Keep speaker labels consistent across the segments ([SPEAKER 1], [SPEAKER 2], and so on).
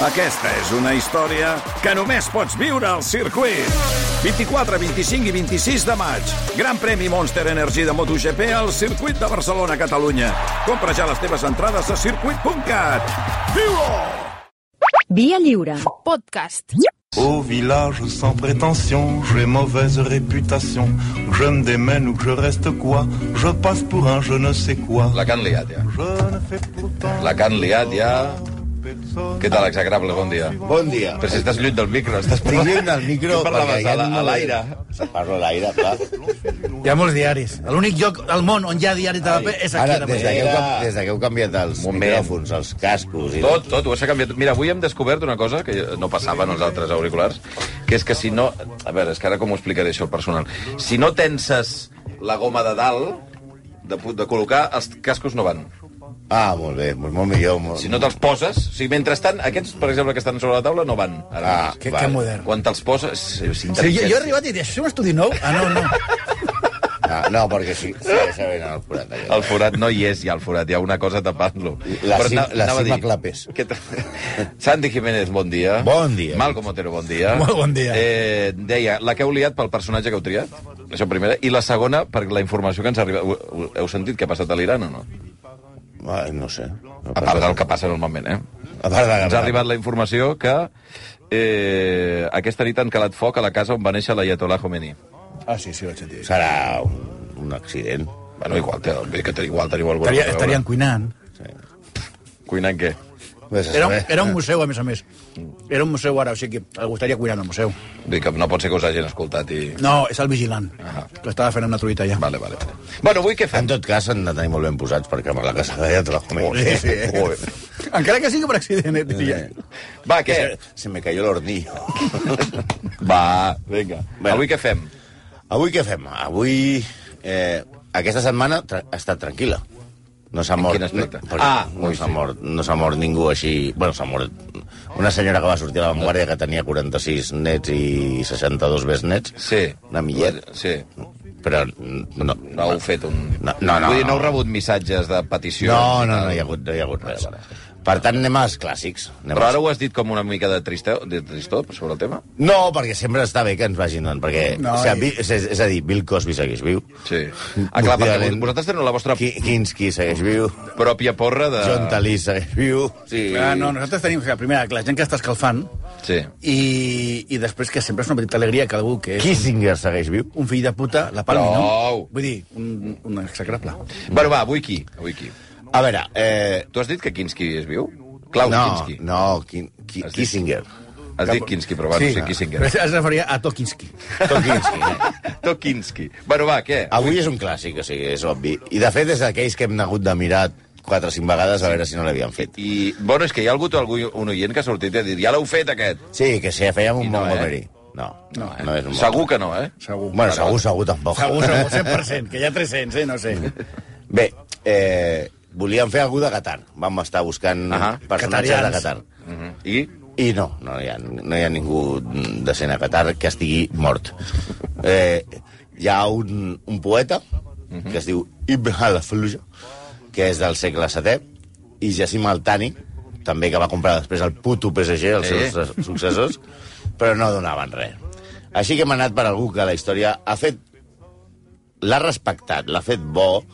[SPEAKER 1] Aquesta és una història que només pots viure al circuit. 24, 25 i 26 de maig. Gran premi Monster Energy de MotoGP al circuit de Barcelona, Catalunya. Compra ja les teves entrades a circuit.cat. Viu-ho!
[SPEAKER 2] Via lliure.
[SPEAKER 3] Podcast.
[SPEAKER 4] Au village sans prétention, j'ai mauvaise réputation. Que Je me démène ou que je reste quoi Je passe pour un je ne sais quoi.
[SPEAKER 5] La que han liat, ja.
[SPEAKER 4] Je ne fais pourtant
[SPEAKER 5] La que han liat, ja.
[SPEAKER 4] personne.
[SPEAKER 5] Què tal, exagrable? Bon dia.
[SPEAKER 6] Bon dia.
[SPEAKER 5] Però si estàs lluny del micro, estàs
[SPEAKER 6] Estic lluny del micro
[SPEAKER 5] Què parlaves
[SPEAKER 6] perquè
[SPEAKER 5] a
[SPEAKER 6] hi ha
[SPEAKER 5] la- a
[SPEAKER 6] molt-
[SPEAKER 5] l'aire?
[SPEAKER 6] Parlo a l'aire, clar.
[SPEAKER 7] Hi ha molts diaris. L'únic lloc al món on hi ha diaris de paper és aquí.
[SPEAKER 6] Ara,
[SPEAKER 7] Ara,
[SPEAKER 6] des de, que heu, cam- des de que heu canviat els
[SPEAKER 5] Moment.
[SPEAKER 6] micròfons, els cascos... I...
[SPEAKER 5] Tot, tot, ho has canviat. Mira, avui hem descobert una cosa que no passava en els altres auriculars, que és que si no... A veure, és que ara com ho explicaré això al personal. Si no tenses la goma de dalt, de, pu- de col·locar, els cascos no van.
[SPEAKER 6] Ah, molt bé, molt, molt millor. Molt...
[SPEAKER 5] Si no te'ls poses... O sigui, mentrestant, aquests, per exemple, que estan sobre la taula, no van. Ara
[SPEAKER 6] Ah,
[SPEAKER 5] mateix.
[SPEAKER 7] Que, que
[SPEAKER 6] Vale.
[SPEAKER 7] modern.
[SPEAKER 5] Quan te'ls poses... Sí,
[SPEAKER 7] Sí, jo, jo he arribat i dit, això és un estudi nou? Ah, no, no.
[SPEAKER 6] Ah, no, perquè sí, sí, ja saben el forat. allò.
[SPEAKER 5] El forat no hi és, ja, el forat. Hi ha una cosa tapant-lo.
[SPEAKER 6] La
[SPEAKER 5] Però
[SPEAKER 6] cim-
[SPEAKER 5] ana-
[SPEAKER 6] la
[SPEAKER 5] anava a
[SPEAKER 6] cima
[SPEAKER 5] dir-
[SPEAKER 6] clapes.
[SPEAKER 5] Què tal? Santi Jiménez, bon dia.
[SPEAKER 6] Bon dia.
[SPEAKER 5] Malcom Otero, bon dia.
[SPEAKER 7] Molt bon dia.
[SPEAKER 5] Eh, deia, la que heu liat pel personatge que heu triat, això primera, i la segona, per la informació que ens arriba... Ho- ho- Heu sentit què ha passat a l'Iran o no?
[SPEAKER 6] Ah, no sé. No
[SPEAKER 5] A part del que passa normalment, eh?
[SPEAKER 6] A part de...
[SPEAKER 5] Ens ha arribat la informació que eh, aquesta nit han calat foc a la casa on va néixer l'Ayatollah Khomeini.
[SPEAKER 7] Ah, sí, sí, vaig sentir.
[SPEAKER 6] Serà un, un accident.
[SPEAKER 5] Bueno, igual, té, vull dir que té- igual teniu alguna cosa
[SPEAKER 7] Estaria,
[SPEAKER 5] a veure.
[SPEAKER 7] estarien cuinant.
[SPEAKER 5] Cuinant què?
[SPEAKER 6] Vés a
[SPEAKER 7] Era, un-
[SPEAKER 6] saber.
[SPEAKER 7] era un museu, a més a més. Era un museu ara, o sigui que algú estaria cuinant al museu.
[SPEAKER 5] Vull dir que no pot ser que us hagin escoltat i...
[SPEAKER 7] No, és el vigilant, que estava fent una truita allà.
[SPEAKER 5] Vale, vale. Bueno, avui què
[SPEAKER 6] En
[SPEAKER 5] fem?
[SPEAKER 6] tot cas, s'han de tenir molt ben posats perquè amb la casa de ja te la comem.
[SPEAKER 7] Sí, sí.
[SPEAKER 5] eh?
[SPEAKER 7] Encara que sigui per accident, eh, diria.
[SPEAKER 5] Va, què?
[SPEAKER 6] Se, se me cayó el hornillo.
[SPEAKER 5] Va, vinga.
[SPEAKER 6] Bueno.
[SPEAKER 5] Avui què fem?
[SPEAKER 6] Avui què fem? Avui... Eh, aquesta setmana tra- ha estat tranquil·la. No s'ha
[SPEAKER 5] En
[SPEAKER 6] mort...
[SPEAKER 5] quin aspecte?
[SPEAKER 6] No,
[SPEAKER 5] Ah,
[SPEAKER 6] ah, no
[SPEAKER 5] ui,
[SPEAKER 6] s'ha
[SPEAKER 5] sí.
[SPEAKER 6] mort, no s'ha mort ningú així... Bueno, s'ha mort una senyora que va sortir a la Vanguardia que tenia 46 nets i 62 besnets.
[SPEAKER 5] Sí.
[SPEAKER 6] Una millet.
[SPEAKER 5] Sí.
[SPEAKER 6] Però no...
[SPEAKER 5] No heu fet un...
[SPEAKER 6] No, no, no.
[SPEAKER 5] Vull dir, no heu rebut missatges de petició.
[SPEAKER 6] No, no, no hi ha hagut, no hi ha hagut res. Per tant, anem als clàssics. Anem
[SPEAKER 5] Però
[SPEAKER 6] als
[SPEAKER 5] ara ho has dit com una mica de, triste, de tristor sobre el tema?
[SPEAKER 6] No, perquè sempre està bé que ens vagin on, perquè...
[SPEAKER 7] No,
[SPEAKER 6] No, o
[SPEAKER 7] i-
[SPEAKER 6] sigui, vi- és, és a dir, Bill Cosby segueix viu.
[SPEAKER 5] Sí. Ah, clar, perquè
[SPEAKER 6] Últimament-
[SPEAKER 5] vosaltres teniu la vostra
[SPEAKER 6] Ki- Kinski segueix viu.
[SPEAKER 5] pròpia porra de...
[SPEAKER 6] John Talí segueix viu. Sí.
[SPEAKER 7] Ah, no, nosaltres tenim, o sigui, primer, la gent que està escalfant,
[SPEAKER 5] Sí.
[SPEAKER 7] i, i després que sempre és una petita alegria que algú que és
[SPEAKER 6] Kissinger segueix viu.
[SPEAKER 7] un fill de puta la palmi,
[SPEAKER 5] Prou.
[SPEAKER 7] no? Vull dir, un, un execrable.
[SPEAKER 5] Bueno, va, avui qui? Avui qui?
[SPEAKER 6] A veure, eh...
[SPEAKER 5] Tu has dit que Kinski és viu? Klaus
[SPEAKER 6] no,
[SPEAKER 5] Kinski.
[SPEAKER 6] no, Kin, Ki,
[SPEAKER 5] Has dit-
[SPEAKER 6] Kissinger.
[SPEAKER 5] Has dit Kinski, però bueno, sí, sí Kissinger.
[SPEAKER 7] Però Es referia a Tokinski.
[SPEAKER 6] Tot Kinski. Ah. eh?
[SPEAKER 5] Tokinski. Bueno, va, què?
[SPEAKER 6] Avui és un clàssic, o sigui, és obvi. I, de fet, és d'aquells que hem hagut de mirar 4 o 5 vegades a veure si no l'havien fet.
[SPEAKER 5] I, bueno, és que hi ha algú, algú un oient que ha sortit i ha dit ja l'heu fet, aquest.
[SPEAKER 6] Sí, que sí, fèiem
[SPEAKER 5] I
[SPEAKER 6] un
[SPEAKER 5] no, eh?
[SPEAKER 6] Montgomery. No, no,
[SPEAKER 5] eh?
[SPEAKER 6] no és un
[SPEAKER 5] Segur que no, eh?
[SPEAKER 7] Segur.
[SPEAKER 6] Bueno, segur, segur tampoc.
[SPEAKER 7] Segur, segur, 100%, que hi ha 300, eh? No sé.
[SPEAKER 6] Bé, eh, volíem fer algú de Qatar. Vam estar buscant
[SPEAKER 5] Ahà.
[SPEAKER 6] personatges
[SPEAKER 7] Qatarians.
[SPEAKER 6] de Qatar.
[SPEAKER 5] Uh -huh. I?
[SPEAKER 6] I no, no hi, ha, no hi ha ningú decent a Qatar que estigui mort. Eh, hi ha un, un poeta que es diu Ibn al-Faluja, que és del segle VII, i Jassim Altani, també que va comprar després el puto PSG, els
[SPEAKER 5] Eh.
[SPEAKER 6] seus eh? successors, però no donaven res. Així que hem anat per algú que la història ha fet l'ha respectat, l'ha fet bo,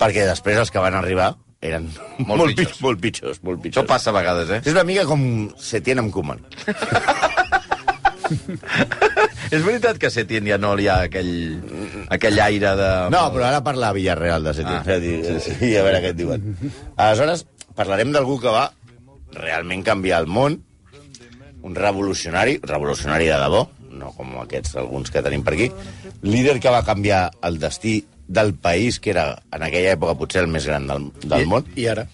[SPEAKER 6] perquè després els que van arribar eren Mm. molt, molt,
[SPEAKER 5] pitjors.
[SPEAKER 6] pitjors. molt pitjors. Molt pitjors.
[SPEAKER 5] Això passa a vegades, eh?
[SPEAKER 6] És una mica com Setién amb Koeman.
[SPEAKER 5] És veritat que Setien ja no hi ha aquell, aquell aire de...
[SPEAKER 6] No, però ara parla a Villarreal de Setién.
[SPEAKER 5] Ah,
[SPEAKER 6] Ah, sí, sí. A veure què et diuen. Aleshores, parlarem d'algú que va realment canviar el món, un revolucionari, revolucionari de debò, no com aquests alguns que tenim per aquí, líder que va canviar el destí del país, que era en aquella època potser el més gran del, del món.
[SPEAKER 7] I ara?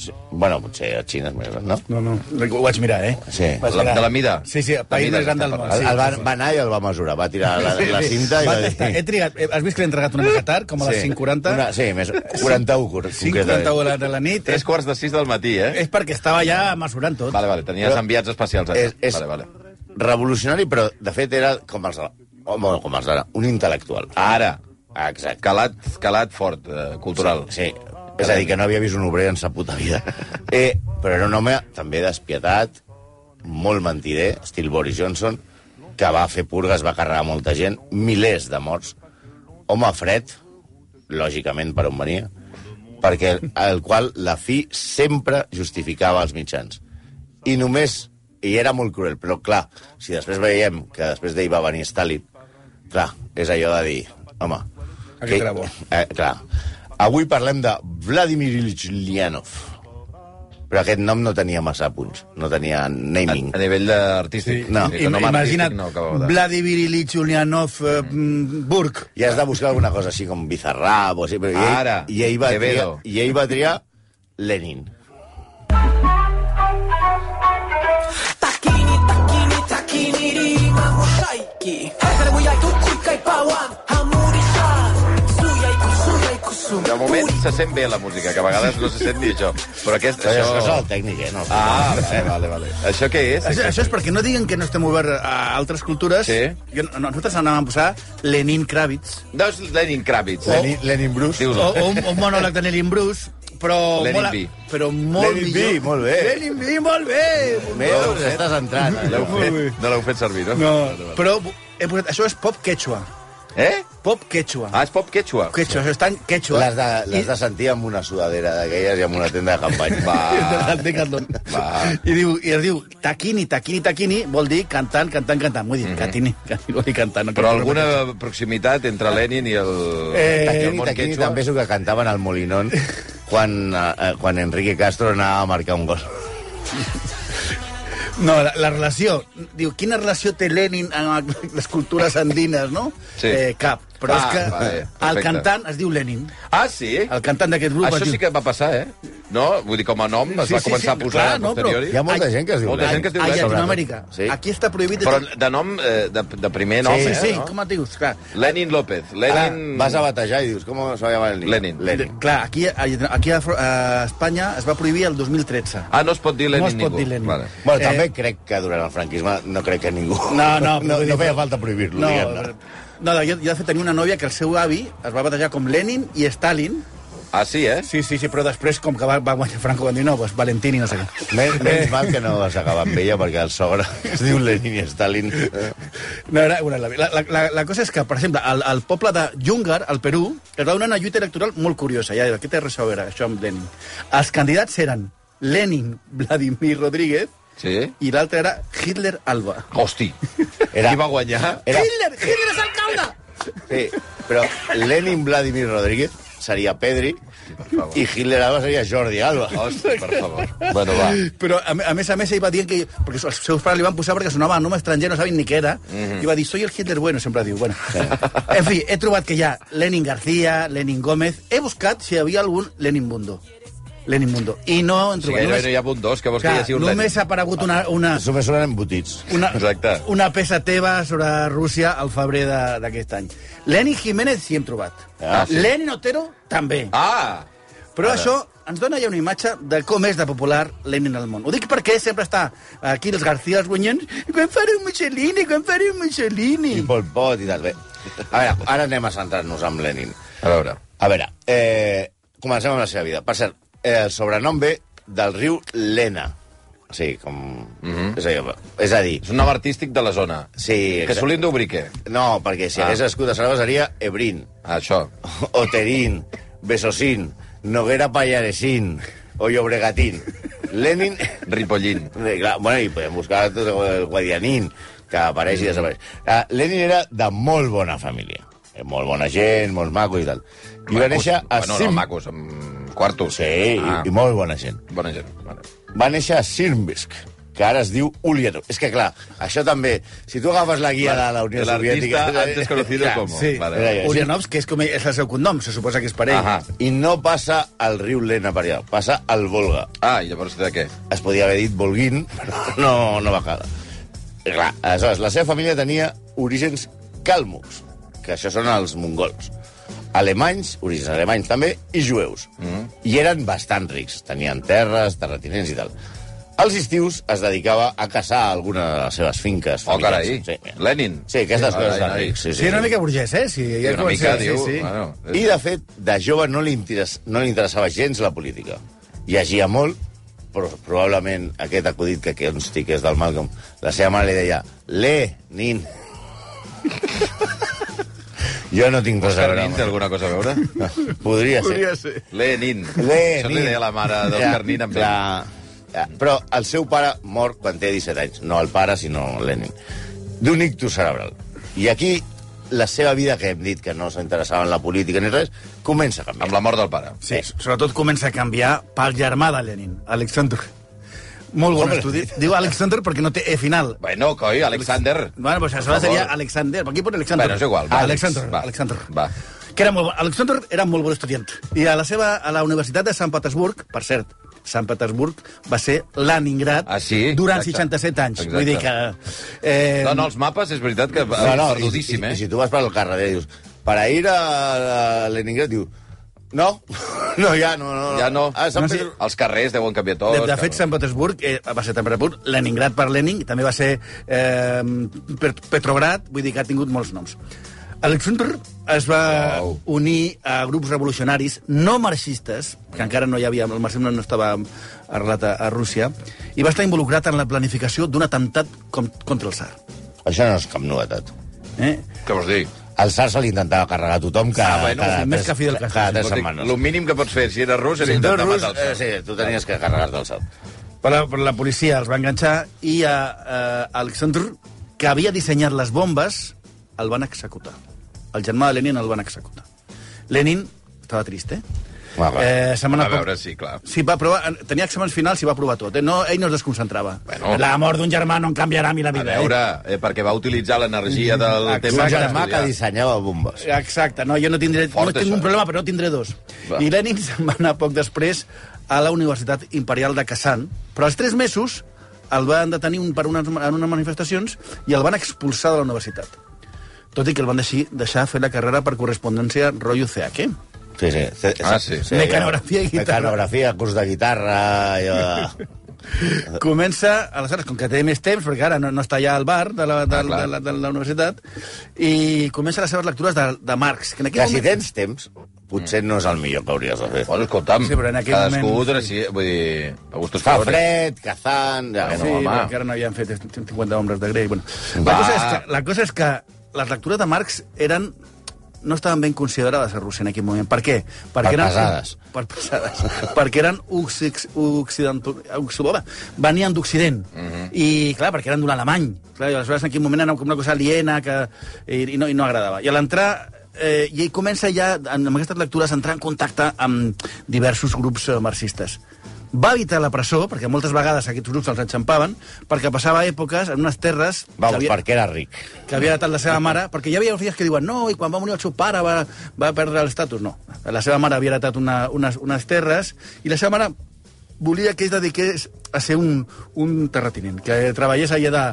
[SPEAKER 6] Sí. Bueno, potser a Xina és més gran, no?
[SPEAKER 7] No, no, ho vaig mirar, eh?
[SPEAKER 6] Sí.
[SPEAKER 7] Vaig
[SPEAKER 5] La-
[SPEAKER 7] mirar.
[SPEAKER 5] de la mida?
[SPEAKER 7] Sí, sí, el
[SPEAKER 5] De
[SPEAKER 7] país
[SPEAKER 5] mida
[SPEAKER 7] més gran
[SPEAKER 5] que
[SPEAKER 7] del
[SPEAKER 5] parla.
[SPEAKER 7] món.
[SPEAKER 6] El,
[SPEAKER 7] sí.
[SPEAKER 6] el va, va anar i el va mesurar, va tirar la, la cinta i
[SPEAKER 7] Va
[SPEAKER 6] va dir...
[SPEAKER 7] tastar. He trigat, eh, has vist que l'hem tragat una de Qatar, com a les 5.40?
[SPEAKER 6] Una, sí, més, 41, cor-
[SPEAKER 7] 5.40
[SPEAKER 6] concretament.
[SPEAKER 7] de la, de la nit.
[SPEAKER 5] Tres
[SPEAKER 7] És,
[SPEAKER 5] quarts de sis del matí, eh?
[SPEAKER 7] és perquè estava ja mesurant tot.
[SPEAKER 5] Vale, vale, tenies
[SPEAKER 6] Però-
[SPEAKER 5] enviats especials.
[SPEAKER 6] És,
[SPEAKER 5] allà.
[SPEAKER 6] és
[SPEAKER 5] Vale, vale.
[SPEAKER 6] revolucionari, però de fet era com els, de- o, bueno, com els d'ara, un intel·lectual.
[SPEAKER 5] Ara,
[SPEAKER 6] Exacte.
[SPEAKER 5] calat, calat fort, eh, cultural.
[SPEAKER 6] Sí, és a dir, que no havia vist un obrer en sa puta vida. Eh, però era un home també despietat, molt mentider, estil Boris Johnson, que va fer purgues, va carregar molta gent, milers de morts. Home fred, lògicament per on venia, perquè el qual la fi sempre justificava els mitjans. I només, i era molt cruel, però clar, si després veiem que després d'ell va venir Stalin, clar, és allò de dir, home...
[SPEAKER 3] Aquest era bo.
[SPEAKER 6] Eh, clar. Avui parlem de Vladimir Ilyich Ulyanov. Però aquest nom no tenia massa punts, no tenia
[SPEAKER 5] A,
[SPEAKER 6] naming.
[SPEAKER 5] a nivell d'artístic.
[SPEAKER 6] No.
[SPEAKER 5] Sí,
[SPEAKER 6] I-
[SPEAKER 5] nom artístic
[SPEAKER 7] Imagina't,
[SPEAKER 5] no, acabava de-
[SPEAKER 7] Vladimir Ilyich Ulyanov eh, mm, Burg.
[SPEAKER 6] I has de buscar alguna cosa així com Bizarrap o així, però i ell,
[SPEAKER 5] Ara,
[SPEAKER 6] i ell va triar,
[SPEAKER 5] Quevedo.
[SPEAKER 6] i ell va triar Lenin.
[SPEAKER 8] Takini, takini, takini ri, mamu shaiki. Hakare wo yaiku kukai pawan, hamuri sha. Suyai ku, suyai ku, su.
[SPEAKER 5] De moment se sent bé la música, que a vegades no se sent ni això. Però aquest,
[SPEAKER 6] Això... això és
[SPEAKER 5] això...
[SPEAKER 6] el tècnic, eh? No,
[SPEAKER 5] Ah,
[SPEAKER 6] eh, vale, vale.
[SPEAKER 5] Això què és?
[SPEAKER 7] Això, això és perquè no diguen que no estem oberts a altres cultures.
[SPEAKER 5] Sí.
[SPEAKER 7] Jo, no, nosaltres anàvem a posar Lenin Kravitz.
[SPEAKER 5] No és Lenin Kravitz.
[SPEAKER 6] Lenin, Oh, Lenin Bruce.
[SPEAKER 5] Diu-lo.
[SPEAKER 7] O, o un, un monòleg de Lenin Bruce, però...
[SPEAKER 5] Lenin
[SPEAKER 7] mola-
[SPEAKER 5] B.
[SPEAKER 7] Però molt
[SPEAKER 6] Lenin B,
[SPEAKER 7] millor.
[SPEAKER 6] molt bé.
[SPEAKER 7] Lenin B, molt bé!
[SPEAKER 6] Veus, oh, estàs entrant. eh?
[SPEAKER 5] L'heu
[SPEAKER 6] allò.
[SPEAKER 5] fet? No l'heu fet servir, no?
[SPEAKER 7] No, però he posat, això és pop quechua.
[SPEAKER 5] Eh?
[SPEAKER 7] Pop quechua.
[SPEAKER 5] Ah, és pop quechua.
[SPEAKER 7] Quechua, això està en quechua.
[SPEAKER 6] L'has de, l'has de sentir amb una sudadera d'aquelles i amb una tenda de campanya. Va.
[SPEAKER 7] del Decathlon. I, diu, I es diu taquini, taquini, taquini, vol dir cantant, cantant, cantant. Vull dir, mm -hmm. catini, catini, vol dir cantant. No
[SPEAKER 5] Mhm. Però alguna proximitat entre Lenin i el...
[SPEAKER 7] Eh,
[SPEAKER 5] i el
[SPEAKER 6] Taquini,
[SPEAKER 5] món
[SPEAKER 6] taquini,
[SPEAKER 5] quechua?
[SPEAKER 6] també és el que cantaven al Molinón quan, eh, quan Enrique Castro anava a marcar un gol.
[SPEAKER 7] No, la, la relació. Diu, quina relació té Lenin amb les cultures andines, no?
[SPEAKER 5] Sí.
[SPEAKER 7] Eh, cap. Però
[SPEAKER 5] Ah,
[SPEAKER 7] és que
[SPEAKER 5] vale,
[SPEAKER 7] el
[SPEAKER 5] perfecte.
[SPEAKER 7] cantant es diu Lenin.
[SPEAKER 5] Ah, sí?
[SPEAKER 7] El cantant d'aquest grup es
[SPEAKER 5] Això
[SPEAKER 7] diu...
[SPEAKER 5] sí que va passar, eh? No? Vull dir, com a nom es
[SPEAKER 7] Sí,
[SPEAKER 5] va
[SPEAKER 7] sí,
[SPEAKER 5] començar
[SPEAKER 7] sí,
[SPEAKER 5] a posar
[SPEAKER 7] clar,
[SPEAKER 5] a
[SPEAKER 7] no, però-
[SPEAKER 5] posteriori.
[SPEAKER 6] Hi ha molta
[SPEAKER 7] Ai,
[SPEAKER 6] gent que es diu
[SPEAKER 5] molta
[SPEAKER 6] Lenin.
[SPEAKER 5] gent que es diu
[SPEAKER 7] A
[SPEAKER 5] Lenin.
[SPEAKER 7] Llatinoamèrica.
[SPEAKER 6] Sí.
[SPEAKER 7] Aquí està prohibit...
[SPEAKER 5] Però de nom, eh, de, de primer nom,
[SPEAKER 7] Sí,
[SPEAKER 5] eh?
[SPEAKER 7] sí,
[SPEAKER 5] no?
[SPEAKER 7] com Ah, et dius? Clar,
[SPEAKER 5] Lenin López.
[SPEAKER 6] Ara
[SPEAKER 5] Lenin...
[SPEAKER 6] vas a batejar i dius, com es va llamar el nen?
[SPEAKER 5] Lenin.
[SPEAKER 6] Lenin.
[SPEAKER 7] clar aquí, aquí a, Fro- a Espanya es va prohibir el 2013.
[SPEAKER 5] Ah, no es pot dir Lenin
[SPEAKER 7] no es pot
[SPEAKER 5] ningú.
[SPEAKER 7] dir Lenin.
[SPEAKER 5] Vale.
[SPEAKER 6] Bueno, eh... també crec que durant el franquisme no crec que ningú...
[SPEAKER 7] No, no,
[SPEAKER 6] no,
[SPEAKER 7] vull dir-
[SPEAKER 6] no feia falta prohibir-lo,
[SPEAKER 7] No, eh,
[SPEAKER 6] diguem-ne.
[SPEAKER 7] no, jo, jo de fet tenia una nòvia que el seu avi es va batejar com Lenin i Stalin.
[SPEAKER 5] Ah, sí, eh?
[SPEAKER 7] Sí, sí, sí, però després, com que va, va guanyar Franco, van dir, no, pues Valentín i no sé què.
[SPEAKER 6] Men, menys mal que no vas acabar amb ella, perquè el sogre es diu Lenin i Stalin.
[SPEAKER 7] No, era, bueno, la, la, la, la cosa és que, per exemple, al, al poble de Yungar, al Perú, es va donar una lluita electoral molt curiosa. Ja, què té res a veure això amb Lenin? Els candidats eren Lenin, Vladimir Rodríguez,
[SPEAKER 5] Sí.
[SPEAKER 7] i l'altre era Hitler Alba.
[SPEAKER 5] Hosti.
[SPEAKER 6] Era-
[SPEAKER 5] Qui va guanyar?
[SPEAKER 6] Era,
[SPEAKER 7] Hitler! Hitler és alcalde!
[SPEAKER 6] sí, però Lenin Vladimir Rodríguez seria Pedri i Hitler Alba seria Jordi Alba.
[SPEAKER 5] Hosti, per favor. Bueno, va.
[SPEAKER 7] Però, a, me- a més a més, ell va dient que... Perquè els seus pares li van posar perquè sonava a nom estranger, no sabien ni què era.
[SPEAKER 5] Mhm.
[SPEAKER 7] I va dir, soy el Hitler bueno, sempre diu. Bueno. En fi, he trobat que hi ha Lenin García, Lenin Gómez... He buscat si hi havia algun Lenin Mundo. Lenin Mundo. I no en
[SPEAKER 5] Si
[SPEAKER 7] trobat.
[SPEAKER 5] gairebé no hi ha punt dos, que vols
[SPEAKER 7] clar,
[SPEAKER 5] que hi hagi un
[SPEAKER 7] només
[SPEAKER 5] Lenin?
[SPEAKER 7] ha aparegut una, una,
[SPEAKER 6] Només són embotits.
[SPEAKER 7] una,
[SPEAKER 5] Exacte.
[SPEAKER 7] una peça teva sobre Rússia al febrer de- d'aquest any. Lenin Jiménez sí hem trobat.
[SPEAKER 5] Ah, sí.
[SPEAKER 7] Lenin Otero també.
[SPEAKER 5] Ah!
[SPEAKER 7] Però això ens dona ja una imatge de com és de popular Lenin al món. Ho dic perquè sempre està aquí els García els guanyants i quan faré un Mussolini, quan faré un Mussolini.
[SPEAKER 6] I Pol Pot i tal. Bé. A veure, ara anem a centrar-nos amb Lenin.
[SPEAKER 5] A veure.
[SPEAKER 6] A veure, eh, comencem amb la seva vida. Per cert, eh, el sobrenom ve del riu Lena. Sí, com... Mm -hmm. és, a dir, és a dir,
[SPEAKER 5] Mhm. És un nom artístic de la zona.
[SPEAKER 6] Sí,
[SPEAKER 5] Que
[SPEAKER 6] exacte.
[SPEAKER 5] solim d'obrir què?
[SPEAKER 6] no, perquè si
[SPEAKER 5] Ah.
[SPEAKER 6] hagués escut a Sarova seria Ebrin,
[SPEAKER 5] Ah, Això.
[SPEAKER 6] Oterín, Besosín, Noguera Pallaresín o Llobregatín. Lenin...
[SPEAKER 5] Ripollín.
[SPEAKER 6] Eh, clar, bueno, i podem buscar tot el Guadianín, que apareix i desapareix. Uh, Lenin era de molt bona família. Eh, molt bona gent, molt maco i tal. I va
[SPEAKER 5] Macos.
[SPEAKER 6] néixer a
[SPEAKER 5] Bueno, no,
[SPEAKER 6] Sim-
[SPEAKER 5] macos, amb quartos.
[SPEAKER 6] Sí, ah.
[SPEAKER 5] Ah,
[SPEAKER 6] i, i molt bona gent.
[SPEAKER 5] Bona gent. Vale.
[SPEAKER 6] Va néixer a Sirmbisk, que ara es diu Ulianov. És que, clar, això també... Si tu agafes la guia de la Unió
[SPEAKER 5] El
[SPEAKER 6] Soviètica...
[SPEAKER 5] artista antes conocido
[SPEAKER 6] Clar,
[SPEAKER 5] como.
[SPEAKER 7] Sí.
[SPEAKER 5] Vale.
[SPEAKER 6] Era jo.
[SPEAKER 7] Urianovs, que és com és el seu cognom, se suposa que és per ell.
[SPEAKER 5] Ahà.
[SPEAKER 6] I no passa al riu Lena per allà, passa al Volga.
[SPEAKER 5] Ah, i llavors de què?
[SPEAKER 6] Es podia haver dit Volguin, però no, no va quedar. I Clar, aleshores, la seva família tenia orígens càlmucs, que això són els mongols. Alemanys, orígens alemanys també, i jueus. Mm. I eren bastant rics, tenien terres, terratinents i tal. Als estius es dedicava a caçar a alguna de les seves finques.
[SPEAKER 5] Oh,
[SPEAKER 6] familiars.
[SPEAKER 5] carai.
[SPEAKER 6] Sí.
[SPEAKER 5] Lenin.
[SPEAKER 6] Sí, aquestes
[SPEAKER 5] Sí,
[SPEAKER 6] coses
[SPEAKER 5] carai,
[SPEAKER 6] de
[SPEAKER 5] noi.
[SPEAKER 6] rics. Sí, sí,
[SPEAKER 7] Sí, una
[SPEAKER 6] sí.
[SPEAKER 7] mica burgès, eh? Sí, ja
[SPEAKER 5] I una mica,
[SPEAKER 7] sí,
[SPEAKER 5] diu...
[SPEAKER 7] Sí, sí.
[SPEAKER 5] Bueno,
[SPEAKER 6] I, de fet, de jove no li, interes, no li interessava gens la política. Llegia molt, però probablement aquest acudit que consti que és del Malcolm, la seva mare li deia Lenin. jo no tinc res a
[SPEAKER 5] Oscar
[SPEAKER 6] veure.
[SPEAKER 5] Nin té
[SPEAKER 6] amb-
[SPEAKER 5] alguna cosa a veure?
[SPEAKER 6] Podria,
[SPEAKER 7] Podria
[SPEAKER 6] Podria
[SPEAKER 7] ser.
[SPEAKER 5] Lenin.
[SPEAKER 6] Lenin.
[SPEAKER 5] Això li deia la mare d'Òscar Nin amb ell.
[SPEAKER 6] clar. Ja, Però el seu pare mor quan té 17 anys. No el pare, sinó Lenin. D'un ictus cerebral. I aquí la seva vida, que hem dit que no s'interessava en la política ni res, comença a canviar.
[SPEAKER 5] Amb la mort del pare.
[SPEAKER 7] Sí, sobretot comença a canviar pel germà de Lenin, Alexander. Molt bon estudi. Diu Alexander perquè no té E final.
[SPEAKER 5] Bueno, coi, Alexander.
[SPEAKER 7] Bueno, pues això
[SPEAKER 5] Per favor.
[SPEAKER 7] seria Alexander. Per aquí pot Alexander.
[SPEAKER 5] Bueno, és igual. va,
[SPEAKER 7] Ah,
[SPEAKER 5] Àlex,
[SPEAKER 7] Alexander,
[SPEAKER 5] va,
[SPEAKER 7] Alexander.
[SPEAKER 5] Va.
[SPEAKER 7] Que era molt bon. Alexander era molt bon estudiant. I a la seva a la Universitat de Sant Petersburg, per cert, Sant Petersburg va ser Leningrad
[SPEAKER 5] Ah, sí?
[SPEAKER 7] durant
[SPEAKER 5] Exacte.
[SPEAKER 7] 67 anys.
[SPEAKER 5] Exacte.
[SPEAKER 7] Vull dir que... Eh,
[SPEAKER 5] No, no, els mapes és veritat que...
[SPEAKER 6] No, no, i, i,
[SPEAKER 5] perdudíssim,
[SPEAKER 6] i si
[SPEAKER 5] eh?
[SPEAKER 6] tu vas per al carrer i dius, para ir a, a Leningrad, diu, no, no, ja no, no.
[SPEAKER 5] Ja no.
[SPEAKER 6] Ah, Sant
[SPEAKER 7] No,
[SPEAKER 6] no,
[SPEAKER 7] sí.
[SPEAKER 6] Pedro...
[SPEAKER 5] Els carrers deuen canviar tot.
[SPEAKER 7] De, de fet,
[SPEAKER 5] clar.
[SPEAKER 7] Sant Petersburg eh, va ser Sant Petersburg, Leningrad per Lenin, i també va ser eh, Pet- Petrograd, vull dir que ha tingut molts noms. Alexander es va wow. unir a grups revolucionaris no marxistes, que encara no hi havia, el marxisme no estava arrelat a, a Rússia, i va estar involucrat en la planificació d'un atemptat com, contra el Tsar.
[SPEAKER 6] Això no és cap novetat.
[SPEAKER 7] Eh?
[SPEAKER 5] Què vols dir?
[SPEAKER 6] El Sar se li intentava carregar a tothom cada,
[SPEAKER 5] Ah, bueno,
[SPEAKER 6] cada,
[SPEAKER 7] sí, més
[SPEAKER 6] tres-
[SPEAKER 7] que Fidel Castro,
[SPEAKER 6] cada tres
[SPEAKER 5] Vols dir,
[SPEAKER 6] setmanes.
[SPEAKER 5] Lo mínim que pots fer, si eres rus, és
[SPEAKER 6] Si tu
[SPEAKER 5] intentar
[SPEAKER 6] ets rus,
[SPEAKER 5] matar el
[SPEAKER 6] eh, sí, tu tenies que carregar-te el Sar.
[SPEAKER 7] Per la, per la policia els va enganxar i a, eh, Alexander, que havia dissenyat les bombes, el van executar. El germà de Lenin el van executar. Lenin estava trist, eh?
[SPEAKER 6] Va, va.
[SPEAKER 7] setmana
[SPEAKER 5] A
[SPEAKER 7] poc-
[SPEAKER 5] veure, sí, clar.
[SPEAKER 7] Sí, va provar, en- tenia exàmens finals i va provar tot. Eh? No, ell no es desconcentrava.
[SPEAKER 5] Bueno.
[SPEAKER 7] la mort d'un germà no em canviarà a mi la
[SPEAKER 5] A
[SPEAKER 7] vida.
[SPEAKER 5] veure, eh, perquè va utilitzar l'energia del
[SPEAKER 7] Mm, Exacte.
[SPEAKER 5] tema
[SPEAKER 6] Un
[SPEAKER 5] que
[SPEAKER 6] germà que
[SPEAKER 5] estudiar.
[SPEAKER 6] dissenyava bombes.
[SPEAKER 7] Eh? Exacte, no, jo no tindré...
[SPEAKER 5] Fort,
[SPEAKER 7] no tinc
[SPEAKER 5] això,
[SPEAKER 7] un
[SPEAKER 5] eh?
[SPEAKER 7] problema, però no tindré dos.
[SPEAKER 5] Va.
[SPEAKER 7] I Lenin se'n va anar poc després a la Universitat Imperial de Kazan, però als tres mesos el van detenir un, per unes, en unes manifestacions i el van expulsar de la universitat. Tot i que el van deixar, deixar fer la carrera per correspondència rotllo CH.
[SPEAKER 6] Sí, sí. sí, eh,
[SPEAKER 5] Ah, sí.
[SPEAKER 7] Mecanografia i guitarra.
[SPEAKER 6] Mecanografia, curs de guitarra... I,
[SPEAKER 5] Eh.
[SPEAKER 7] Comença, aleshores, com que té més temps, perquè ara no, no està ja al bar de la, de,
[SPEAKER 5] Ah,
[SPEAKER 7] de,
[SPEAKER 5] clar.
[SPEAKER 7] de, la, de la universitat, i comença les seves lectures de, de Marx. Que en aquell
[SPEAKER 6] que si tens temps, potser no és el millor que hauries de fer.
[SPEAKER 5] Bueno, escolta'm,
[SPEAKER 7] Sí, però en aquell
[SPEAKER 5] cadascú
[SPEAKER 7] moment-
[SPEAKER 5] dona així, vull dir, a gustos
[SPEAKER 6] Fa
[SPEAKER 5] colores.
[SPEAKER 6] fred, Kazan... Ja,
[SPEAKER 5] Bueno,
[SPEAKER 7] sí,
[SPEAKER 5] home.
[SPEAKER 7] perquè ara no havien fet 50 ombres de Grey. Bueno, la,
[SPEAKER 5] Va.
[SPEAKER 7] cosa és que, la cosa és que les lectures de Marx eren no estaven ben considerades a Rússia en aquell moment. Per què? Perquè
[SPEAKER 6] Per pesades.
[SPEAKER 7] Per pesades. perquè eren oxix, occident... oxidova. Venien d'Occident. I, clar, perquè eren d'un alemany. Clar, i aleshores, en aquell moment, era com una cosa aliena que, i, i, no, i no agradava. I a l'entrar eh, i ell comença ja, en- amb aquestes lectures, a entrar en contacte amb diversos grups eh, marxistes. Va evitar la presó, perquè moltes vegades aquests grups els enxampaven, perquè passava èpoques en unes terres... que
[SPEAKER 6] Vamos,
[SPEAKER 7] havia-
[SPEAKER 6] perquè era ric.
[SPEAKER 7] que havia heretat la seva mare, perquè hi havia filles que diuen no, i quan va morir el seu pare va, va perdre l'estatus. No, la seva mare havia heretat una, unes, unes terres i la seva mare volia que es dediqués a ser un, un terratinent, que treballés allà de,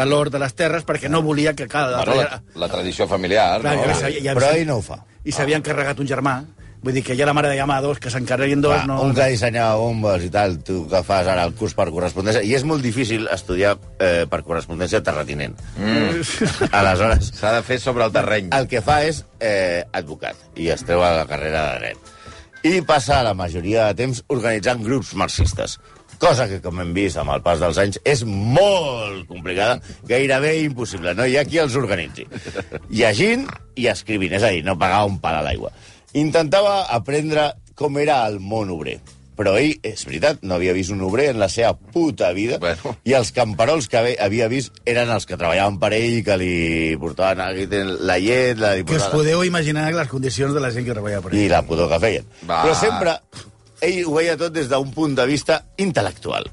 [SPEAKER 7] de l'or de les terres perquè no volia que cada...
[SPEAKER 5] Bueno, la, la tradició familiar,
[SPEAKER 7] Clar,
[SPEAKER 5] no?
[SPEAKER 7] ja sabia- ja
[SPEAKER 6] Però
[SPEAKER 7] sabia-
[SPEAKER 6] ell no ho fa. Ah.
[SPEAKER 7] I s'havia encarregat un germà, vull dir que ja la mare deia, home, dos, que s'encarreguin dos,
[SPEAKER 6] Clar,
[SPEAKER 7] no...
[SPEAKER 6] Un que dissenyava bombes i tal, tu que fas ara el curs per correspondència. I és molt difícil estudiar eh, per correspondència terratinent. Mm. Aleshores,
[SPEAKER 5] S'ha de fer sobre el terreny.
[SPEAKER 6] el que fa és eh, advocat i es treu a la carrera de dret. I passa la majoria de temps organitzant grups marxistes, cosa que, com hem vist amb el pas dels anys, és molt complicada, gairebé impossible. No hi ha qui els organitzi. Llegint i escrivint, és a dir, no pagava un pal a l'aigua. Intentava aprendre com era el món obrer, però ell, és veritat, no havia vist un obrer en la seva puta vida,
[SPEAKER 5] Bueno.
[SPEAKER 6] i els camperols que ve- havia vist eren els que treballaven per ell, que li portaven aquí la llet, la li
[SPEAKER 7] Que us
[SPEAKER 6] portaven-
[SPEAKER 7] podeu imaginar les condicions de la gent que treballa per ell.
[SPEAKER 6] i la pudor que feien.
[SPEAKER 5] Va.
[SPEAKER 6] Va. Però sempre ell ho veia tot des d'un punt de vista intel·lectual,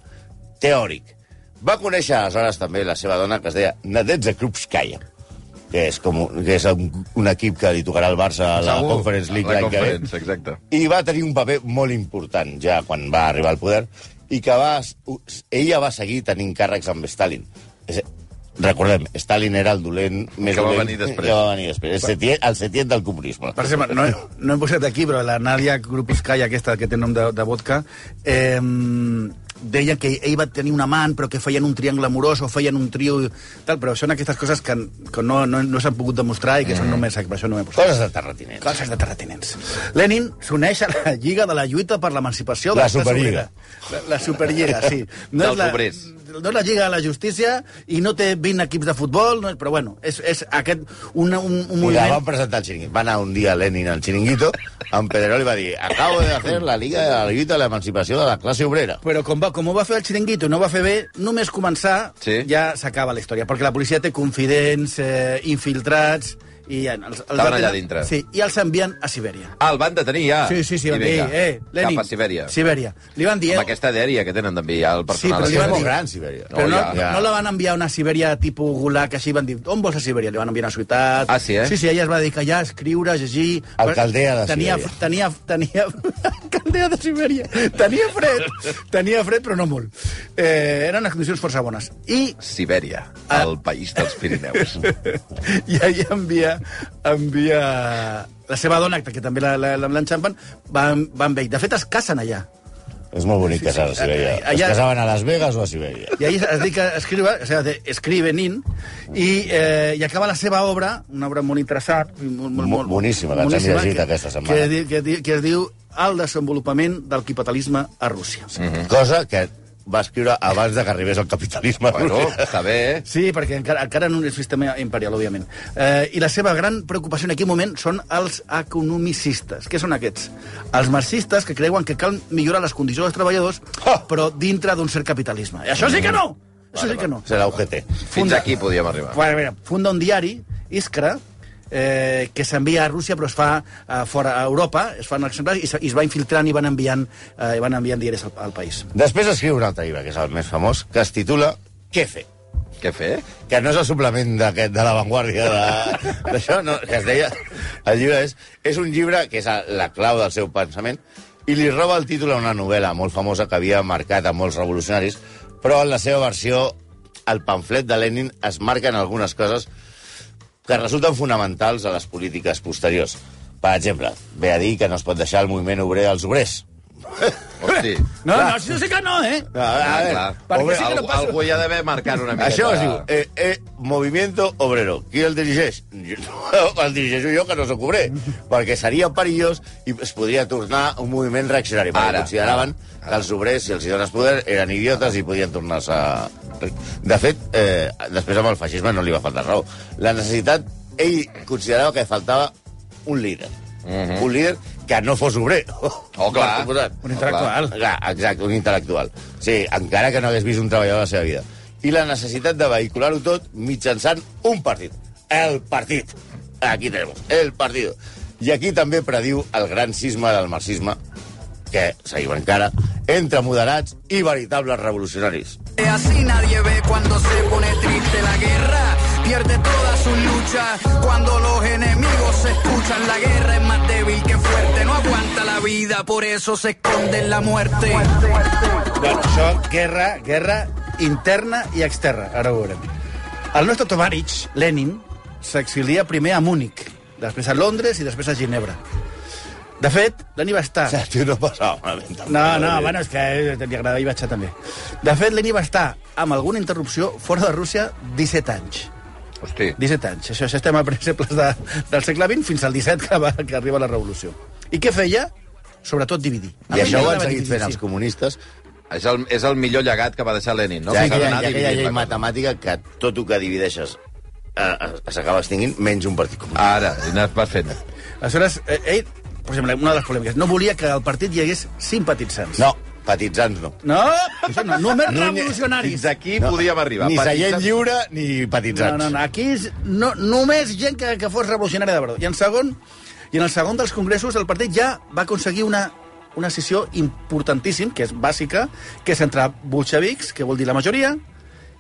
[SPEAKER 6] teòric. Va conèixer aleshores també la seva dona, que es deia Nadezhda Krupskaya, que és, com un, que és un, un equip que li tocarà al Barça a la
[SPEAKER 5] Segur.
[SPEAKER 6] Conference League
[SPEAKER 5] La
[SPEAKER 6] l'any que ve
[SPEAKER 5] Conference, exacte.
[SPEAKER 6] i va tenir un paper molt important ja quan va arribar al poder i que va, ella va seguir tenint càrrecs amb Stalin. És, recordem, Stalin era el dolent més
[SPEAKER 5] que va
[SPEAKER 6] dolent
[SPEAKER 5] venir després.
[SPEAKER 6] que va venir després. El setiet, el setiet del comunisme.
[SPEAKER 7] Per exemple, no, he- no hem posat aquí, però la Nadia Grupiskaya, aquesta que té nom de, de vodka, eh, deia que ell va tenir un amant, però que feien un triangle amorós o feien un trio... i Tal, però són aquestes coses que, que no, no, no s'han pogut demostrar i que
[SPEAKER 6] Mm.
[SPEAKER 7] són només... Per això no m'he posat.
[SPEAKER 6] Coses de terratinents.
[SPEAKER 7] Coses de terratinents. Lenin s'uneix a la Lliga de la Lluita per l'Emancipació... de
[SPEAKER 6] La
[SPEAKER 7] les Classes
[SPEAKER 6] Superliga.
[SPEAKER 7] Obreres. La, la Superliga, sí.
[SPEAKER 5] Del
[SPEAKER 7] és la,
[SPEAKER 5] progrés.
[SPEAKER 7] no és la Lliga de la Justícia i no té 20 equips de futbol, no és, però bueno, és, és aquest un, un, un
[SPEAKER 6] Mira,
[SPEAKER 7] moviment...
[SPEAKER 6] van presentar el xiringuito. Va anar un dia Lenin al xiringuito, en Pedrerol i va dir acabo de fer la Liga de la Lluita de l'Emancipació de la classe obrera.
[SPEAKER 7] Però com, va, com ho va fer el xiringuito i no ho va fer bé, només començar
[SPEAKER 5] Sí.
[SPEAKER 7] ja s'acaba la història, perquè la policia té confidents, eh, infiltrats... I en- els, els
[SPEAKER 5] Estaven allà
[SPEAKER 7] atenen-
[SPEAKER 5] dintre.
[SPEAKER 7] Sí, i els envien a Sibèria.
[SPEAKER 5] Ah, el van detenir ja.
[SPEAKER 7] sí, sí, sí,
[SPEAKER 5] I
[SPEAKER 7] van dir,
[SPEAKER 5] vinga,
[SPEAKER 7] eh, Lenin.
[SPEAKER 5] Cap a Sibèria.
[SPEAKER 7] Sibèria. Li van dir...
[SPEAKER 5] Amb
[SPEAKER 7] eh,
[SPEAKER 5] aquesta dèria que tenen d'enviar el personal
[SPEAKER 7] però
[SPEAKER 5] a
[SPEAKER 7] li
[SPEAKER 6] És
[SPEAKER 7] van
[SPEAKER 5] Sibèria.
[SPEAKER 6] molt
[SPEAKER 7] dir-
[SPEAKER 6] gran, Sibèria.
[SPEAKER 7] Però no,
[SPEAKER 5] Oh, ja.
[SPEAKER 7] no la van enviar a una Sibèria tipus gulag, així van dir, on vols a Sibèria? Li van enviar a una ciutat...
[SPEAKER 5] Ah, sí, eh?
[SPEAKER 7] Sí, sí, ella es va dedicar ja a escriure, a llegir...
[SPEAKER 6] Alcaldea de
[SPEAKER 7] tenia,
[SPEAKER 6] Sibèria.
[SPEAKER 7] Tenia, tenia, alcaldea de Sibèria. Tenia fred, tenia fred, però no molt. Eh, eren unes condicions força bones. I
[SPEAKER 5] Sibèria,
[SPEAKER 7] Ah.
[SPEAKER 5] el país dels Pirineus.
[SPEAKER 7] i ahir envia, envia la seva dona, que també la- la- la- l'enxampen, va, va amb ell. De fet, es casen allà.
[SPEAKER 6] És molt bonic casar a Sibèria.
[SPEAKER 7] Allà-
[SPEAKER 6] Es casaven a Las Vegas o a Sibèria?
[SPEAKER 7] I ahí es dedica a escriure, o sea, de, escribe Nin, i, eh, i acaba la seva obra, una obra molt interessant, i molt, molt,
[SPEAKER 6] Mo-
[SPEAKER 7] molt
[SPEAKER 6] boníssima, que ens hem
[SPEAKER 7] boníssima,
[SPEAKER 6] llegit
[SPEAKER 7] que-
[SPEAKER 6] aquesta setmana.
[SPEAKER 7] Que, di- que, di- que es diu El desenvolupament del capitalisme a Rússia. Sí.
[SPEAKER 6] Cosa que va escriure abans de que arribés el capitalisme.
[SPEAKER 5] bueno, està bé, eh?
[SPEAKER 7] Sí, perquè encara, encara en un sistema imperial, òbviament. Eh, I la seva gran preocupació en aquell moment són els economicistes. Què són aquests? Els marxistes que creuen que cal millorar les condicions dels treballadors, però dintre d'un cert capitalisme. I això sí que no! Això sí que no.
[SPEAKER 6] Serà UGT.
[SPEAKER 5] Fins
[SPEAKER 7] Funda-
[SPEAKER 5] aquí podíem arribar.
[SPEAKER 7] Bueno, mira, funda un diari, Iskra, eh, que s'envia a Rússia però es fa eh, fora a Europa, es fan exemplars i, se- i es va infiltrant i van enviant, eh, i van enviant diaris al, al país.
[SPEAKER 6] Després escriu un altre llibre, que és el més famós, que es titula Què fer?
[SPEAKER 5] Què fer?
[SPEAKER 6] que no és el suplement d'aquest de l'avantguàrdia de- d'això, no, que es deia... El llibre és, és un llibre que és a- la clau del seu pensament i li roba el títol a una novel·la molt famosa que havia marcat a molts revolucionaris, però en la seva versió, el pamflet de Lenin, es marquen algunes coses que resulten fonamentals a les polítiques posteriors. Per exemple, ve a dir que no es pot deixar el moviment obrer als obrers.
[SPEAKER 5] Hosti.
[SPEAKER 7] No, no, això sí que no, eh?
[SPEAKER 6] a veure,
[SPEAKER 5] Ah,
[SPEAKER 6] a veure,
[SPEAKER 5] clar.
[SPEAKER 7] perquè
[SPEAKER 5] Home,
[SPEAKER 7] sí que no
[SPEAKER 5] algú-
[SPEAKER 7] passa-
[SPEAKER 5] Algú hi ha d'haver marcat una miqueta.
[SPEAKER 6] Això es diu eh, eh, Movimiento Obrero. Qui el dirigeix? Jo- El dirigeixo jo, que no sóc obrer, perquè seria perillós i es podria tornar un moviment reaccionari, perquè
[SPEAKER 5] Ara,
[SPEAKER 6] Ara. consideraven que els obrers, si els hi dones poder, eren idiotes i podien tornar-se... De fet, eh, després amb el feixisme no li va faltar raó. La necessitat, ell considerava que faltava un líder. Un líder que no fos obrer.
[SPEAKER 5] Oh, clar.
[SPEAKER 6] Per suposat.
[SPEAKER 7] Un intel·lectual.
[SPEAKER 6] Clar, exacte, un intel·lectual. Sí, encara que no hagués vist un treballador a la seva vida. I la necessitat de vehicular-ho tot mitjançant un partit. El partit. Aquí tenim el partit. I aquí també prediu el gran cisma del marxisme, que seguim encara, entre moderats i veritables revolucionaris.
[SPEAKER 3] Así nadie ve cuando se pone triste la guerra. Pierde todas sus luchas cuando los enemigos se escuchan. La guerra es más débil que fuerte, no aguanta la vida, por eso se esconde en la muerte.
[SPEAKER 7] Bueno, això, guerra, guerra interna i externa, ara ho veurem. El nostre Tovarich, Lenin, s'exilia primer a Múnich, després a Londres i després a Ginebra. De fet, Lenin va estar...
[SPEAKER 6] El tio no passava malament. tampoc.
[SPEAKER 7] No, no, bueno, és que eh, li agradava i vaig també. De fet, Lenin va estar, amb alguna interrupció, fora de Rússia 17 anys.
[SPEAKER 5] Hosti.
[SPEAKER 7] 17 anys. Això, això estem a principis de, del segle XX fins al 17 que, va, que arriba la revolució. I què feia? Sobretot dividir.
[SPEAKER 6] I
[SPEAKER 7] A mi
[SPEAKER 6] això ho han
[SPEAKER 7] m'agradava
[SPEAKER 6] seguit
[SPEAKER 7] dividir,
[SPEAKER 6] fent els
[SPEAKER 7] sí.
[SPEAKER 6] comunistes,
[SPEAKER 5] És el, és el millor llegat que va deixar Lenin, no?
[SPEAKER 6] No, hi ha,
[SPEAKER 5] Que s'ha
[SPEAKER 6] aquella, hi
[SPEAKER 5] d'anar
[SPEAKER 6] ha aquella
[SPEAKER 5] dividint
[SPEAKER 6] llei
[SPEAKER 5] la cosa.
[SPEAKER 6] matemàtica que tot el que divideixes eh, eh, s'acaba extinguint, menys un partit comunista.
[SPEAKER 5] Ara, i anar pas fent.
[SPEAKER 7] Aleshores, eh, ell, per exemple, una de les polèmiques, no volia que al partit hi hagués simpatitzants.
[SPEAKER 6] No, petitzants no.
[SPEAKER 7] No, això no, només revolucionaris.
[SPEAKER 5] Fins aquí podíem arribar.
[SPEAKER 6] Ni
[SPEAKER 5] Petits-
[SPEAKER 6] seient lliure ni
[SPEAKER 7] No,
[SPEAKER 6] petitzants.
[SPEAKER 7] no, no, aquí és, no, només gent que, que fos revolucionària de veritat. I en segon, i en el segon dels congressos el partit ja va aconseguir una una sessió importantíssim, que és bàsica, que és entre bolxevics, que vol dir la majoria,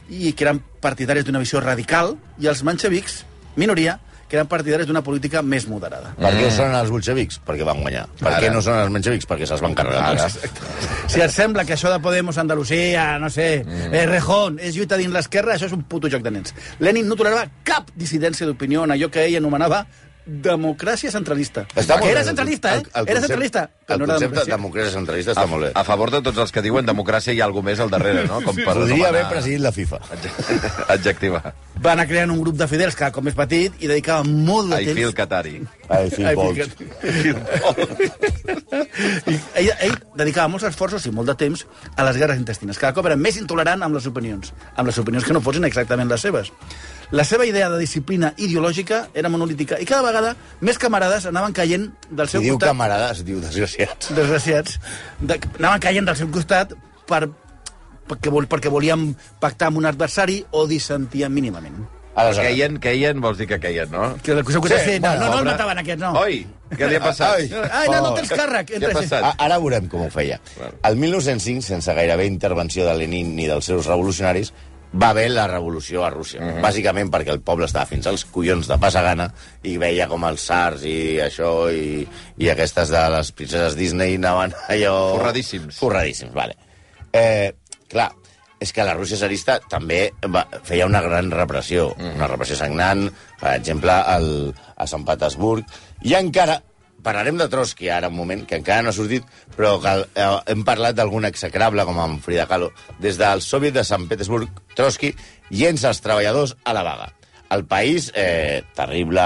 [SPEAKER 7] i que eren partidaris d'una visió radical, i els manxevics, minoria, que eren partidaris d'una política més moderada.
[SPEAKER 6] Per què són els bolxevics? Perquè van guanyar. Per
[SPEAKER 5] Ara.
[SPEAKER 6] què no són els menxevics? Perquè se'ls van carregar.
[SPEAKER 7] Ah,
[SPEAKER 6] tots.
[SPEAKER 7] Si et sembla que això de Podemos Andalusia, no sé, mm. eh, Rejón, és lluita dins l'esquerra, això és un puto joc de nens. Lenin no tolerava cap dissidència d'opinió en allò que ell anomenava democràcia centralista.
[SPEAKER 6] Està molt
[SPEAKER 7] que era
[SPEAKER 6] bé.
[SPEAKER 7] centralista, eh?
[SPEAKER 6] El- el
[SPEAKER 7] era
[SPEAKER 6] concep-
[SPEAKER 7] centralista, però
[SPEAKER 6] El
[SPEAKER 7] no era
[SPEAKER 6] concepte
[SPEAKER 7] democràcia. Ah.
[SPEAKER 6] democràcia centralista està molt bé.
[SPEAKER 5] A favor de tots els que diuen democràcia hi ha alguna més al darrere, no? Com per
[SPEAKER 6] Podria haver
[SPEAKER 5] anomenar-
[SPEAKER 6] presidit la FIFA.
[SPEAKER 5] Adjectivar.
[SPEAKER 7] Va anar creant un grup de fidels cada cop més petit i dedicava molt de
[SPEAKER 5] I
[SPEAKER 7] temps...
[SPEAKER 5] feel Qatari.
[SPEAKER 6] Ai, Phil
[SPEAKER 7] Ai,
[SPEAKER 6] Bolt.
[SPEAKER 7] fica't. I ell, ell dedicava molts esforços i molt de temps a les guerres intestines. Cada cop era més intolerant amb les opinions, amb les opinions que no fossin exactament les seves. La seva idea de disciplina ideològica era monolítica i cada vegada més camarades anaven caient del
[SPEAKER 6] Si
[SPEAKER 7] seu
[SPEAKER 6] diu
[SPEAKER 7] costat...
[SPEAKER 6] camarades, diu desgraciats.
[SPEAKER 7] Desgraciats. De, anaven caient del seu costat per, perquè, vol, perquè volien pactar amb un adversari o dissentir mínimament.
[SPEAKER 6] Aleshores,
[SPEAKER 5] Queien, queien, vols dir que queien, no?
[SPEAKER 7] Que el seu costat...
[SPEAKER 6] Sí,
[SPEAKER 7] Sí, no,
[SPEAKER 6] bueno,
[SPEAKER 7] no, no el
[SPEAKER 5] Pobre-
[SPEAKER 7] mataven aquest, no.
[SPEAKER 5] Oi, què li ha passat?
[SPEAKER 6] Ai.
[SPEAKER 7] Ai, no, no tens càrrec.
[SPEAKER 5] Què
[SPEAKER 7] Entra,
[SPEAKER 5] ha
[SPEAKER 7] sí.
[SPEAKER 5] passat?
[SPEAKER 6] a- ara veurem com ho feia. El 1905, sense gairebé intervenció de Lenin ni dels seus revolucionaris, va haver la revolució a Rússia. Bàsicament perquè el poble estava fins als collons de passar gana i veia com els sars i això i, i aquestes de les princeses Disney anaven allò...
[SPEAKER 5] Forradíssims.
[SPEAKER 6] Forradíssims, vale. Eh, clar, és que la Rússia zarista també va, feia una gran repressió, una repressió sagnant, per exemple, al, a Sant Petersburg, i encara, parlarem de Trotsky ara un moment, que encara no ha sortit, però que, eh, hem parlat d'algun execrable, com amb Frida Kahlo, des del soviet de Sant Petersburg, Trotsky llença els treballadors a la vaga. El país, eh, terrible,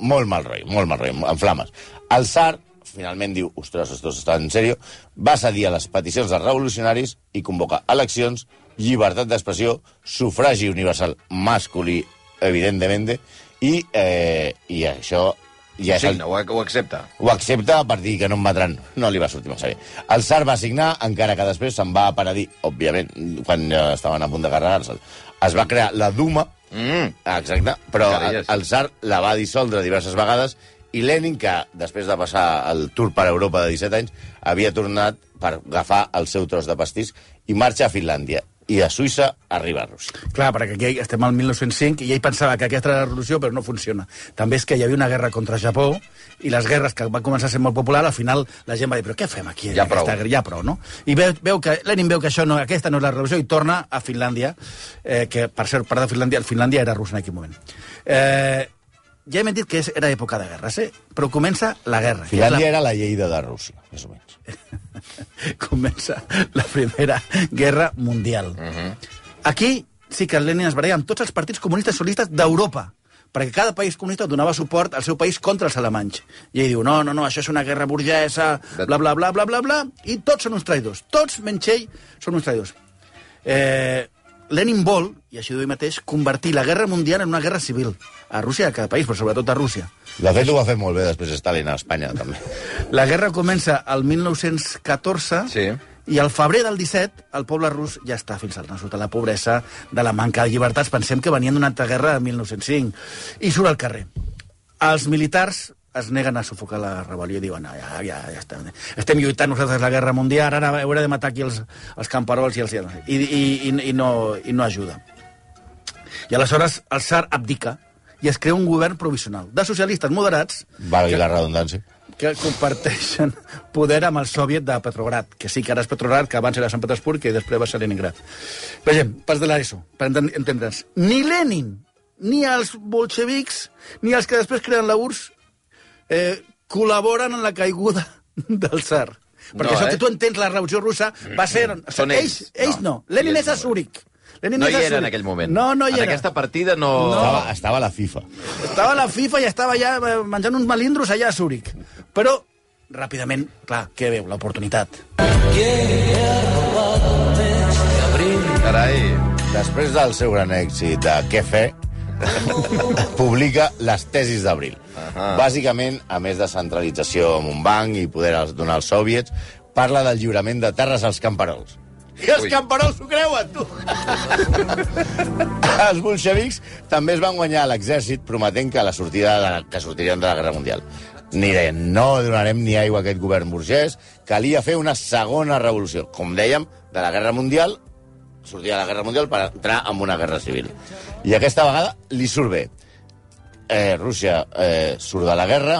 [SPEAKER 6] molt mal rotllo, molt mal rotllo, en flames. El Sar finalment diu, ostres, esto està en sèrio, va cedir a les peticions dels revolucionaris i convoca eleccions, llibertat d'expressió, sufragi universal masculí, evidentment, i, eh, i això ja
[SPEAKER 5] Ja
[SPEAKER 6] és el
[SPEAKER 5] signa, ho, ho accepta.
[SPEAKER 6] ho accepta per dir que no em matran. No li va sortir massa bé. El Sar va signar, encara que després se'n va penedir, òbviament, quan ja estaven a punt de carregar-se'l. Es va crear la Duma, Ah,
[SPEAKER 5] Mm.
[SPEAKER 6] exacte, però
[SPEAKER 5] Encara hi
[SPEAKER 6] el,
[SPEAKER 5] és.
[SPEAKER 6] el Sar la va dissoldre diverses vegades i Lenin, que després de passar el tour per Europa de 17 anys, havia tornat per agafar el seu tros de pastís i marxa a Finlàndia i a Suïssa arriba a Rússia.
[SPEAKER 7] Clar, perquè aquí estem al 1905 i ell pensava que aquesta era la revolució, però no funciona. També és que hi havia una guerra contra Japó i les guerres que van començar a ser molt popular, al final la gent va dir, però què fem aquí?
[SPEAKER 5] Ja
[SPEAKER 7] en aquesta
[SPEAKER 5] prou."
[SPEAKER 7] guerra? Ja prou, no? I veu, veu que Lenin veu que això no, aquesta no és la revolució i torna a Finlàndia, eh, que per ser part de Finlàndia, Finlàndia era russa en aquell moment. Eh, ja hem dit que és, era època de guerres, eh? però comença la guerra. que és la-
[SPEAKER 6] Finlàndia era la Lleida de Rússia, més o menys.
[SPEAKER 7] comença la Primera Guerra Mundial. Aquí sí que el Lenin es baralla amb tots els partits comunistes solistes d'Europa, perquè cada país comunista donava suport al seu país contra els alemanys. I ell diu, no, no, no, això és una guerra burgesa,
[SPEAKER 5] De-
[SPEAKER 7] bla, bla, bla, bla, bla, bla, i tots són uns traïdors. Tots, menys ell, són uns traïdors. Eh, Lenin vol, i així ho diu ell mateix, convertir la guerra mundial en una guerra civil. A Rússia, a cada país, però sobretot a Rússia.
[SPEAKER 6] De fet, ho va fer molt bé després Stalin a Espanya, també.
[SPEAKER 7] La guerra comença al 1914
[SPEAKER 5] Sí.
[SPEAKER 7] i al febrer del 17 el poble rus ja està fins al nasut de la pobresa, de la manca de llibertats. Pensem que venien d'una altra guerra de 1905. I surt al carrer. Els militars es neguen a sufocar la rebel·lió. Diuen, "Ah, ja, ja, ja estem, estem lluitant nosaltres la guerra mundial, ara hauré de matar aquí els, els camperols i els... I, i, i, i, no, I no ajuda. I aleshores el Tsar abdica i es crea un govern provisional de socialistes moderats
[SPEAKER 6] Valgui la redundància.
[SPEAKER 7] que comparteixen poder amb el soviet de Petrograd, que sí que ara és Petrograd, que abans era Sant Petersburg i després va ser Leningrad. Vegem, pas de l'ESO, per enten- entendre'ns. Ni Lenin, ni els bolxevics, ni els que després creen la URSS, eh, col·laboren en la caiguda del tsar. Perquè
[SPEAKER 5] No,
[SPEAKER 7] això
[SPEAKER 5] eh? Mm-hmm.
[SPEAKER 7] que tu entens la revolució russa va ser...
[SPEAKER 5] Són ells.
[SPEAKER 7] Ells, ells no.
[SPEAKER 5] No.
[SPEAKER 7] Lenin
[SPEAKER 5] Ells
[SPEAKER 7] és a
[SPEAKER 5] no.
[SPEAKER 7] Zúrich. Lenin
[SPEAKER 5] No
[SPEAKER 7] és
[SPEAKER 5] hi
[SPEAKER 7] a
[SPEAKER 5] era en
[SPEAKER 7] Zúrich.
[SPEAKER 5] aquell moment.
[SPEAKER 7] No, no
[SPEAKER 5] en
[SPEAKER 7] hi era.
[SPEAKER 5] aquesta partida no...
[SPEAKER 6] Estava, estava a la FIFA.
[SPEAKER 7] Estava a la FIFA i estava ja eh, menjant uns melindros allà a Zúrich. Però, ràpidament, clar, què veu? L'oportunitat.
[SPEAKER 5] Carai,
[SPEAKER 6] Després del seu gran èxit de Què fer, publica les tesis d'abril. Bàsicament, a més de centralització amb un banc i poder als- donar als soviets, parla del lliurament de terres als camperols. I els
[SPEAKER 5] Ui.
[SPEAKER 6] camperols ho creuen, tu! els bolxevics també es van guanyar a l'exèrcit prometent que la sortida de la, que sortirien de la Guerra Mundial. Ni de, no donarem ni aigua a aquest govern burgès, calia fer una segona revolució. Com dèiem, de la Guerra Mundial, sortir de la Guerra Mundial per entrar en una guerra civil. I aquesta vegada li surt bé. Eh, Rússia eh, surt de la guerra,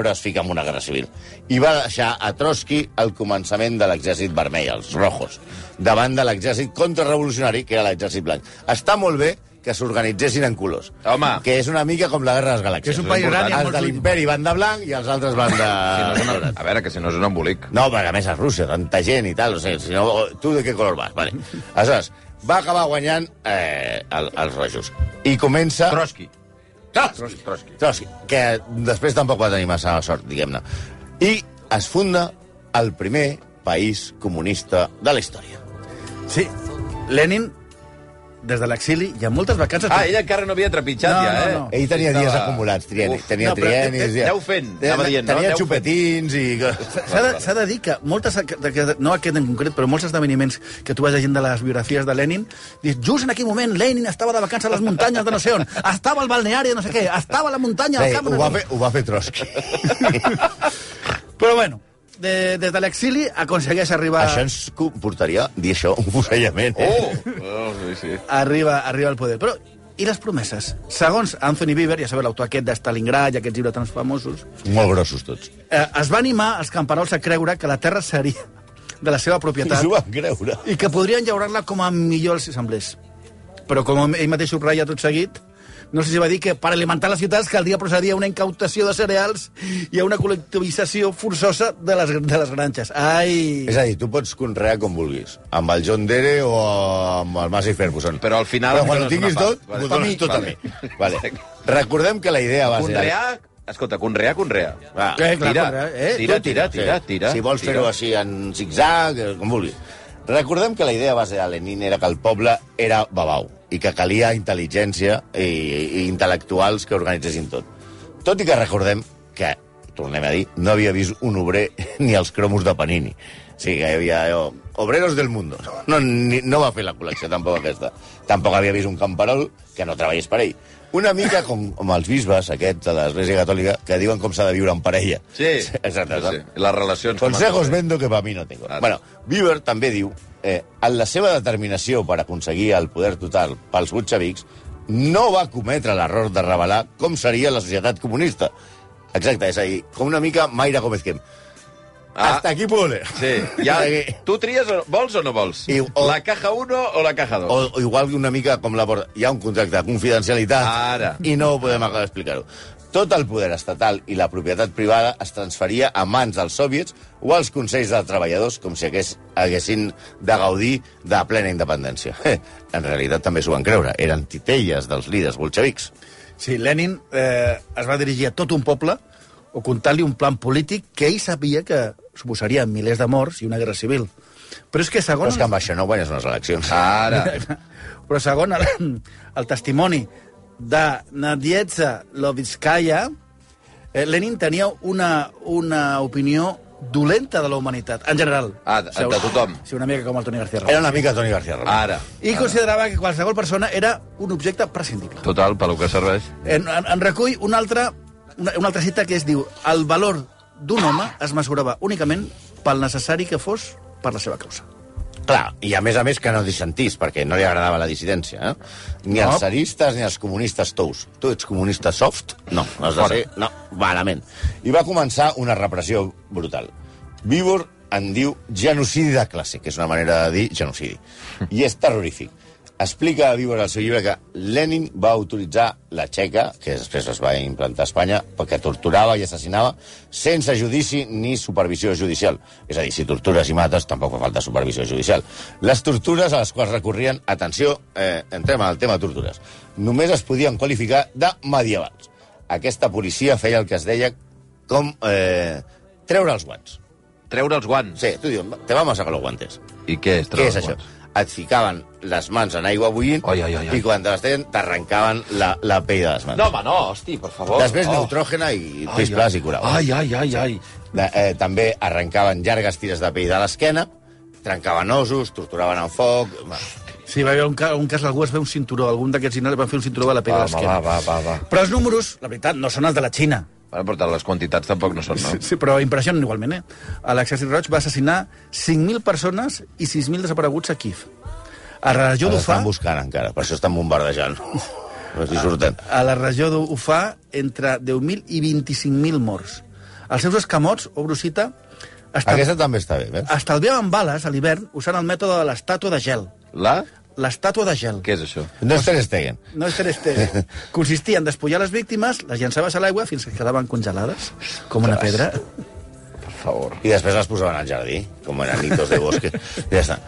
[SPEAKER 6] però es fica en una guerra civil. I va deixar a Trotsky al començament de l'exèrcit vermell, els rojos, davant de l'exèrcit contrarrevolucionari, que era l'exèrcit blanc. Està molt bé que s'organitzessin en colors.
[SPEAKER 5] Home.
[SPEAKER 6] Que és una mica com la Guerra de les Galàxies.
[SPEAKER 7] Que és un país gran i amb
[SPEAKER 6] Els de
[SPEAKER 7] molts-
[SPEAKER 6] l'imperi van de blanc i els altres van de...
[SPEAKER 5] Si no és una... A veure, que si no és un embolic.
[SPEAKER 6] Ah. No, perquè a més a Rússia, tanta gent i tal, o sigui, si no, tu de què color vas? Vale. Aleshores, va acabar guanyant eh, el, els rojos. I comença...
[SPEAKER 5] Trotsky.
[SPEAKER 6] Trotsky.
[SPEAKER 5] Trotsky.
[SPEAKER 6] Trotsky, que després tampoc va tenir massa sort, diguem-ne. I es funda el primer país comunista de la història.
[SPEAKER 7] Sí, Lenin, des de l'exili, hi ha moltes vacances...
[SPEAKER 5] Ah, ella encara no havia trepitjat,
[SPEAKER 7] No,
[SPEAKER 5] ja, eh?
[SPEAKER 7] no, no.
[SPEAKER 6] Ell tenia dies
[SPEAKER 5] Estava-
[SPEAKER 6] acumulats, trieni,
[SPEAKER 5] Uf,
[SPEAKER 6] tenia
[SPEAKER 7] no,
[SPEAKER 6] no,
[SPEAKER 7] però té-
[SPEAKER 6] trienis...
[SPEAKER 5] té-
[SPEAKER 6] ja-
[SPEAKER 5] aneu eh, fent, anava dient, no?
[SPEAKER 6] Tenia
[SPEAKER 5] Aneu
[SPEAKER 6] xupetins i...
[SPEAKER 7] S'ha de, s'ha de dir que moltes, que- que- no aquest en concret, però molts esdeveniments que tu vas llegint de les biografies de Lenin, dius, just en aquell moment Lenin estava de vacances a les muntanyes de no sé on, estava al balneari de no sé què, estava a la muntanya del
[SPEAKER 6] Ei,
[SPEAKER 7] camp...
[SPEAKER 6] ho,
[SPEAKER 7] no
[SPEAKER 6] va
[SPEAKER 7] sé
[SPEAKER 6] fer, ho va fer Trotsky.
[SPEAKER 7] què. Però bueno, de, des de l'exili aconsegueix arribar...
[SPEAKER 6] Això ens comportaria, dir això, un fusellament. Eh?
[SPEAKER 5] Oh! oh sí, sí.
[SPEAKER 7] arriba, arriba al poder. Però, i les promeses? Segons Anthony Bieber, ja sabeu, l'autor aquest de Stalingrad i aquests llibres tan famosos,
[SPEAKER 6] Molt grossos tots.
[SPEAKER 7] eh, es va animar els camperols a creure que la terra seria de la seva
[SPEAKER 6] I
[SPEAKER 7] propietat
[SPEAKER 6] s'ho van creure.
[SPEAKER 7] i que podrien llaurar-la com a millor els assemblers. Però com ell mateix subratlla tot seguit, no sé si va dir que per alimentar les ciutats caldria procedir a una incautació de cereals i a una col·lectivització forçosa de les, de les granges. Ai!
[SPEAKER 6] És a dir, tu pots conrear com vulguis, amb el John Dere o amb el Massey Ferguson.
[SPEAKER 5] Però al final
[SPEAKER 6] Però quan
[SPEAKER 5] em
[SPEAKER 6] ho
[SPEAKER 5] dones
[SPEAKER 6] tinguis
[SPEAKER 5] una
[SPEAKER 6] tot,
[SPEAKER 5] part.
[SPEAKER 6] vale.
[SPEAKER 5] Vale.
[SPEAKER 6] ho dones
[SPEAKER 5] Per mi,
[SPEAKER 6] tot a
[SPEAKER 5] vale.
[SPEAKER 6] mi. Vale. Recordem que la idea va ser...
[SPEAKER 5] Conrear... Escolta, conrear, conrear.
[SPEAKER 6] Va,
[SPEAKER 7] Eh, clar,
[SPEAKER 5] Tira,
[SPEAKER 7] conrear, eh?
[SPEAKER 5] tira,
[SPEAKER 7] Tu
[SPEAKER 5] tira,
[SPEAKER 6] Sí.
[SPEAKER 5] tira, tira.
[SPEAKER 6] Si vols
[SPEAKER 5] tira.
[SPEAKER 6] fer-ho així en zigzag, eh, com vulguis. Recordem que la idea base de Lenin era que el poble era babau i que calia intel·ligència i, i intel·lectuals que organitzessin tot. Tot i que recordem que, tornem a dir, no havia vist un obrer ni els cromos de Panini. O sigui que hi havia allò, obreros del mundo. No, ni, no va fer la col·lecció tampoc aquesta. Tampoc havia vist un camperol que no treballés per ell. Una mica com, com els bisbes aquests de l'Església Catòlica que diuen com s'ha de viure en parella.
[SPEAKER 5] Sí,
[SPEAKER 6] Exacte.
[SPEAKER 5] sí, sí. Les relacions... com
[SPEAKER 6] Consejos
[SPEAKER 5] es-
[SPEAKER 6] vendo que para mí no tengo.
[SPEAKER 5] Clar.
[SPEAKER 6] Bueno, Bieber també diu eh, en la seva determinació per aconseguir el poder total pels bolxevics no va cometre l'error de revelar com seria la societat comunista. Exacte, és a dir, com una mica Mayra Gómez Kem.
[SPEAKER 5] Ah.
[SPEAKER 6] Hasta aquí puedo leer.
[SPEAKER 5] Sí, ja,
[SPEAKER 6] Hasta aquí.
[SPEAKER 5] tu tries, o, vols o no vols?
[SPEAKER 6] I- o-
[SPEAKER 5] La caja 1 o la caja 2?
[SPEAKER 6] O, o igual una mica com la porta. Hi ha un contracte de confidencialitat
[SPEAKER 5] Ara.
[SPEAKER 6] i no ho podem acabar d'explicar-ho. Tot el poder estatal i la propietat privada es transferia a mans dels soviets o als consells de treballadors com si hagués, haguessin de gaudir de plena independència. Eh, en realitat també s'ho van creure. Eren titelles dels líders bolxevics.
[SPEAKER 7] Sí, Lenin eh, es va dirigir a tot un poble o contar-li un plan polític que ell sabia que suposaria milers de morts i una guerra civil. Però és que
[SPEAKER 6] Però
[SPEAKER 7] segons,
[SPEAKER 6] és que amb això no guanyes unes eleccions.
[SPEAKER 5] Ara.
[SPEAKER 7] però segons el, el testimoni de Nadietza Lovitskaya, eh, Lenin tenia una, una opinió dolenta de la humanitat, en general.
[SPEAKER 5] Ah, de- de tothom. Eh,
[SPEAKER 7] Sí, una mica com el Toni García Ramon.
[SPEAKER 6] Era una mica Toni García Ramon.
[SPEAKER 5] Ara.
[SPEAKER 7] I considerava que qualsevol persona era un objecte prescindible.
[SPEAKER 5] Total, pel que serveix.
[SPEAKER 7] En, en, en recull una altra, una, una altra cita que es diu el valor d'un home es mesurava únicament pel necessari que fos per la seva causa.
[SPEAKER 6] Clar, i a més a més que no dissentís, perquè no li agradava la dissidència, eh? Ni
[SPEAKER 7] No.
[SPEAKER 6] els zaristes ni els comunistes tous. Tu ets comunista soft? No, has de
[SPEAKER 5] Fora.
[SPEAKER 6] ser... No, malament. I va començar una repressió brutal. Víbor en diu genocidi de classe, que és una manera de dir genocidi. I és terrorífic. Explica a Víbor al seu llibre que Lenin va autoritzar la txeca, que després es va implantar a Espanya, perquè torturava i assassinava sense judici ni supervisió judicial. És a dir, si tortures i mates, tampoc fa falta supervisió judicial. Les tortures a les quals recorrien, atenció, eh, entrem al tema tortures, només es podien qualificar de medievals. Aquesta policia feia el que es deia com eh, treure els guants.
[SPEAKER 5] Treure els guants.
[SPEAKER 6] Sí, tu diuen, te vamos a sacar los guantes.
[SPEAKER 5] I què és
[SPEAKER 6] Què
[SPEAKER 5] treure
[SPEAKER 6] és
[SPEAKER 5] els
[SPEAKER 6] això?
[SPEAKER 5] guants?
[SPEAKER 6] Et ficaven les mans en aigua bullint
[SPEAKER 5] Ai, ai, ai, ai.
[SPEAKER 6] i quan te les tenien t'arrencaven la, la pell de les mans.
[SPEAKER 5] No, home, no, hosti, per favor.
[SPEAKER 6] Després
[SPEAKER 5] oh.
[SPEAKER 6] neutrògena i pisplàs i curau.
[SPEAKER 5] Ai, ai, ai, ai.
[SPEAKER 6] De, eh, també arrencaven llargues tires de pell de l'esquena, trencaven ossos, torturaven en foc...
[SPEAKER 7] Sí, va haver un, ca un cas, algú es va fer un cinturó, algun d'aquests diners van fer un cinturó de la pell
[SPEAKER 5] Va,
[SPEAKER 7] de
[SPEAKER 5] va,
[SPEAKER 7] l'esquena.
[SPEAKER 5] va, va, va.
[SPEAKER 7] Però els números, la veritat, no són els de la Xina.
[SPEAKER 5] Bueno, però les quantitats tampoc no són, no?
[SPEAKER 7] Sí, sí, però impressionen igualment, eh? A L'exèrcit roig va assassinar 5.000 persones i 6.000 desapareguts a Kiev. A la regió
[SPEAKER 6] Ara
[SPEAKER 7] d'Ufà...
[SPEAKER 6] estan buscant encara, per això estan bombardejant. No si surten.
[SPEAKER 7] A la regió d'Ufà, entre 10.000 i 25.000 morts. Els seus escamots o brucita estal...
[SPEAKER 6] Aquesta també està bé, veus?
[SPEAKER 7] estalviaven bales a l'hivern usant el mètode de l'estàtua de gel.
[SPEAKER 5] La?
[SPEAKER 7] L'estàtua de gel.
[SPEAKER 5] Què és això?
[SPEAKER 6] No és Ter Stegen.
[SPEAKER 7] No és Ter Stegen. Consistia en despullar les víctimes, les llançaves a l'aigua fins que quedaven congelades, com una
[SPEAKER 6] Ostres.
[SPEAKER 7] pedra.
[SPEAKER 5] Per favor.
[SPEAKER 6] I després les posaven al jardí, com enanitos de bosque. ja està.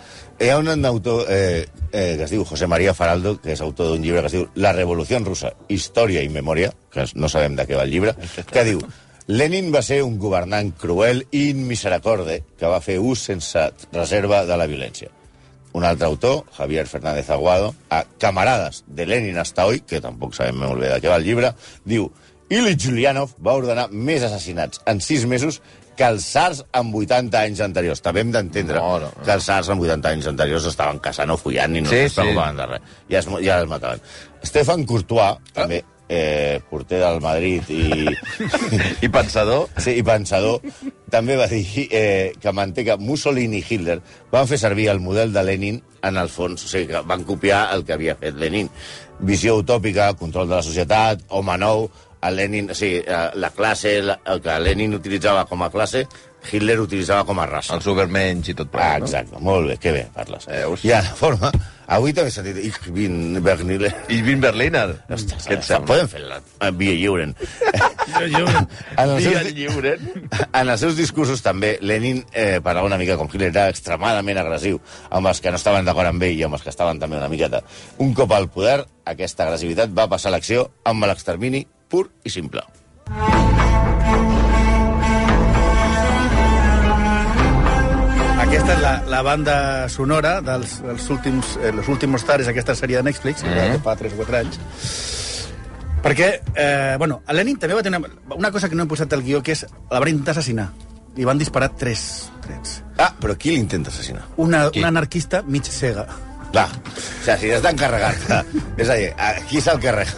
[SPEAKER 6] Hi ha un autor eh, eh, que es diu José María Faraldo, que és autor d'un llibre que es diu La revolució russa, història i memòria, que no sabem de què va el llibre, que diu Lenin va ser un governant cruel i inmisericorde que va fer ús sense reserva de la violència. Un altre autor, Javier Fernández Aguado, a Camarades de Lenin hasta hoy, que tampoc sabem molt bé de què va el llibre, diu Ilyich Julianov va ordenar més assassinats en sis mesos que els SARS amb 80 anys anteriors. També hem d'entendre
[SPEAKER 5] No, no, no.
[SPEAKER 6] que els SARS amb 80 anys anteriors estaven caçant o follant i no
[SPEAKER 5] Sí,
[SPEAKER 6] sí,
[SPEAKER 5] sí.
[SPEAKER 6] es preocupaven de res. Ja es, ja es mataven. Stefan Courtois, també eh, porter del Madrid i,
[SPEAKER 5] I pensador?
[SPEAKER 6] Sí, i pensador, també va dir eh, que manté que Mussolini i Hitler van fer servir el model de Lenin en el fons, o sigui, que van copiar el que havia fet Lenin. Visió utòpica, control de la societat, home nou, el Lenin, o sigui, eh, la classe, la, el que Lenin utilitzava com a classe, Hitler utilitzava com a raça.
[SPEAKER 5] Els Ubermenys i tot
[SPEAKER 6] Ah,
[SPEAKER 5] plegat,
[SPEAKER 6] exacte, molt bé, que bé parles.
[SPEAKER 5] Veus?
[SPEAKER 6] I a la forma, avui també he sentit Ich bin Berniler.
[SPEAKER 5] no? I Vin Berliner?
[SPEAKER 6] Ostres,
[SPEAKER 5] Què et sembla?
[SPEAKER 6] Poden fer la eh, via lliure. en, els
[SPEAKER 5] Via
[SPEAKER 6] seus,
[SPEAKER 5] lliure?
[SPEAKER 6] en els seus discursos també Lenin eh, parlava una mica com Hitler era extremadament agressiu amb els que no estaven d'acord amb ell i amb els que estaven també una miqueta. Un cop al poder, aquesta agressivitat va passar a l'acció amb l'extermini pur i simple.
[SPEAKER 7] Aquesta és la, la banda sonora dels, dels últims, eh, los últimos tares, aquesta sèrie de Netflix, mm -hmm. que fa 3 o 4 anys. Perquè, eh, bueno, a Lenin també va tenir una, una cosa que no hem posat al guió, que és la van intentar assassinar. Li van disparar 3 trets.
[SPEAKER 6] Ah, però qui l'intenta assassinar?
[SPEAKER 7] Una,
[SPEAKER 5] Qui?
[SPEAKER 7] una anarquista mig cega.
[SPEAKER 6] Va, o sigui, si has d'encarregar-te. És a dir, a- qui se'l carrega?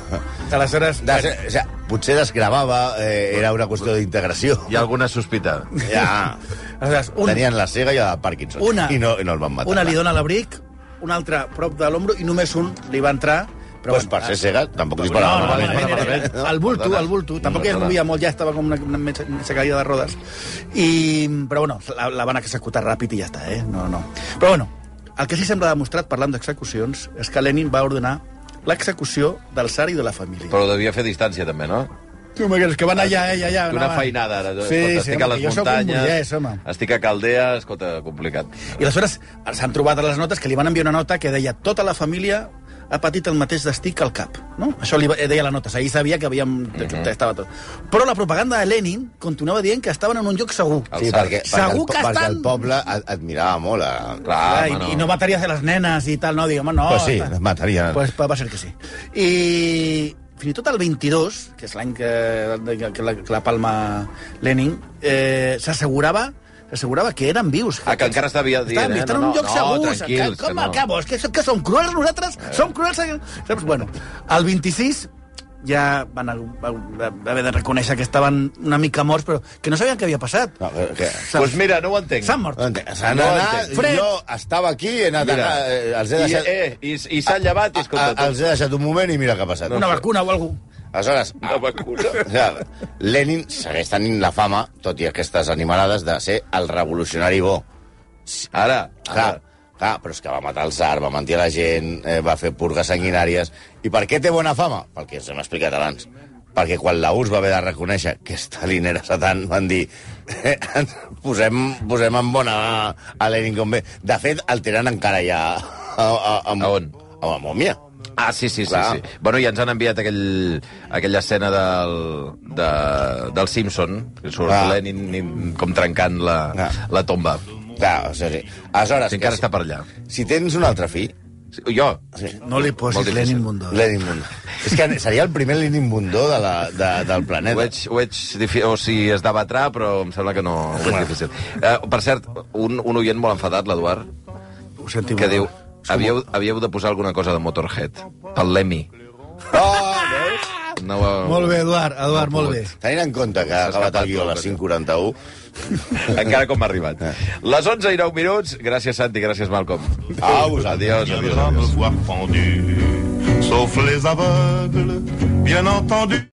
[SPEAKER 7] Aleshores,
[SPEAKER 6] De, o sigui, potser desgravava, eh, era una qüestió d'integració.
[SPEAKER 5] Hi ha alguna sospita?
[SPEAKER 6] Ja.
[SPEAKER 7] aleshores un,
[SPEAKER 6] Tenien la cega i la de Parkinson.
[SPEAKER 7] Una.
[SPEAKER 6] I no, i no el van matar.
[SPEAKER 7] una li dona l'abric, un altre prop de l'ombro i només un li va entrar... Però
[SPEAKER 6] Però pues
[SPEAKER 7] bueno, ah,
[SPEAKER 6] per ser cega, tampoc
[SPEAKER 7] No,
[SPEAKER 6] disparava.
[SPEAKER 7] no,
[SPEAKER 5] malament,
[SPEAKER 7] malament,
[SPEAKER 5] malament,
[SPEAKER 7] era-
[SPEAKER 5] malament.
[SPEAKER 7] El bulto,
[SPEAKER 5] Perdona.
[SPEAKER 7] el bulto. Tampoc es
[SPEAKER 5] Perdona.
[SPEAKER 7] movia molt, ja estava com una, una metge- metge caída de rodes. I, però bueno, la, la van executar ràpid i ja està, eh? No, no. Però bueno, el que sí sembla demostrat, parlant d'execucions, és que Lenin va ordenar l'execució del tsar i de la família.
[SPEAKER 5] Però ho devia fer a distància, també, no?
[SPEAKER 7] Tu me creus que van allà, eh, allà, allà.
[SPEAKER 5] Una
[SPEAKER 7] anaven.
[SPEAKER 5] feinada, ara.
[SPEAKER 7] Sí,
[SPEAKER 5] escolta,
[SPEAKER 7] sí,
[SPEAKER 5] estic a
[SPEAKER 7] home,
[SPEAKER 5] les
[SPEAKER 7] jo sóc un
[SPEAKER 5] muntanyes,
[SPEAKER 7] burgès, home.
[SPEAKER 5] estic a Caldea, escolta, complicat.
[SPEAKER 7] I aleshores s'han trobat a les notes que li van enviar una nota que deia tota la família ha patit el mateix destí que el cap. No? Això li va- eh, deia la nota. Ahir sabia que havíem...
[SPEAKER 6] Mhm.
[SPEAKER 7] Mm -hmm. estava tot. Però la propaganda de Lenin continuava dient que estaven en un lloc segur.
[SPEAKER 6] Sí,
[SPEAKER 5] Alçat.
[SPEAKER 6] eh, perquè, perquè,
[SPEAKER 7] Segur
[SPEAKER 6] el,
[SPEAKER 7] que
[SPEAKER 6] po- perquè
[SPEAKER 7] estan-
[SPEAKER 6] el poble ad- admirava molt. A...
[SPEAKER 5] Clar,
[SPEAKER 7] Ah,
[SPEAKER 5] home,
[SPEAKER 7] i, I no mataries a les nenes i tal, no? Diguem, no.
[SPEAKER 6] pues sí,
[SPEAKER 7] tal.
[SPEAKER 6] les matarien.
[SPEAKER 7] pues, va va ser que sí. I fins i tot el 22, que és l'any que, que, la, que la palma Lenin, eh, s'assegurava s'assegurava que eren vius.
[SPEAKER 5] Ah, que encara estava dient,
[SPEAKER 7] Estan,
[SPEAKER 5] eh?
[SPEAKER 7] estan en
[SPEAKER 5] No,
[SPEAKER 7] un lloc
[SPEAKER 5] no,
[SPEAKER 7] segur.
[SPEAKER 5] tranquils,
[SPEAKER 7] que, com
[SPEAKER 5] que no.
[SPEAKER 7] no. acabo? És que, que som cruels nosaltres? Som cruels? Saps? Bueno, el 26 ja van a- a- haver de reconèixer que estaven una mica morts, però que no sabien què havia passat.
[SPEAKER 6] No, eh, que- que-
[SPEAKER 5] Doncs pues mira, no ho entenc.
[SPEAKER 7] S'han mort.
[SPEAKER 6] S'han
[SPEAKER 5] No
[SPEAKER 6] anat,
[SPEAKER 5] entenc.
[SPEAKER 7] Fred.
[SPEAKER 6] jo estava aquí, he anat a...
[SPEAKER 5] Mira,
[SPEAKER 6] eh, Els he
[SPEAKER 5] i,
[SPEAKER 6] deixat...
[SPEAKER 5] eh, i, i s'han llevat, i
[SPEAKER 6] a,
[SPEAKER 5] escolta,
[SPEAKER 6] els he deixat un moment i mira què ha passat.
[SPEAKER 7] Una vacuna o alguna
[SPEAKER 6] Aleshores,
[SPEAKER 5] Una vacuna.
[SPEAKER 6] o sigui, Lenin segueix tenint la fama, tot i aquestes animalades, de ser el revolucionari bo.
[SPEAKER 5] Ara, ara.
[SPEAKER 6] Clar, clar, però és que va matar el zar, va mentir a la gent, eh, va fer purgues sanguinàries... I per què té bona fama? Pel que ens hem explicat abans. Perquè quan la URSS va haver de reconèixer que Stalin era satan, van dir eh, ens posem, posem en bona a Lenin com bé. De fet, el tenen encara ja a, a, a,
[SPEAKER 5] A on?
[SPEAKER 6] A la mòmia.
[SPEAKER 5] Ah, sí, sí, sí,
[SPEAKER 6] Clar.
[SPEAKER 5] sí. Bueno, ja ens han enviat aquell, aquella escena del, de, del Simpson, que surt
[SPEAKER 6] Ah.
[SPEAKER 5] Lenin i- com trencant la,
[SPEAKER 6] Ah.
[SPEAKER 5] la tomba.
[SPEAKER 6] Clar, o sigui, aleshores...
[SPEAKER 5] Si encara
[SPEAKER 6] que
[SPEAKER 5] està per allà.
[SPEAKER 6] Si tens un altre fill,
[SPEAKER 5] Sí, Jo?
[SPEAKER 6] sí,
[SPEAKER 7] cosa. No li
[SPEAKER 5] Molt
[SPEAKER 7] posis
[SPEAKER 5] difícil.
[SPEAKER 7] Lenin Mundó.
[SPEAKER 6] Lenin Mundo. És que seria el primer Lenin Mundo de la, de, del
[SPEAKER 5] Ho
[SPEAKER 6] planeta.
[SPEAKER 5] veig, ho veig difi... o sigui, es debatrà, però em sembla que no, ho veig difícil. Eh, per cert, un, un oient molt enfadat, l'Eduard,
[SPEAKER 7] Ho sentim.
[SPEAKER 5] que
[SPEAKER 7] molt.
[SPEAKER 5] diu... Havíeu, havíeu de posar alguna cosa de Motorhead, pel Lemmy.
[SPEAKER 6] Oh, veus?
[SPEAKER 5] No, ho-
[SPEAKER 7] Molt bé, Eduard, Eduard,
[SPEAKER 5] No
[SPEAKER 7] molt
[SPEAKER 5] puc.
[SPEAKER 7] bé.
[SPEAKER 6] Tenint en compte que ha acabat el guió a les 5.41,
[SPEAKER 5] Encara com ha arribat. Les 11 i 9 minuts. Gràcies, Santi, gràcies, Malcolm.
[SPEAKER 6] Au,
[SPEAKER 5] Adiós, adiós,
[SPEAKER 4] viendra me
[SPEAKER 5] adiós.
[SPEAKER 4] voir pendu, sauf les aveugles, bien entendu.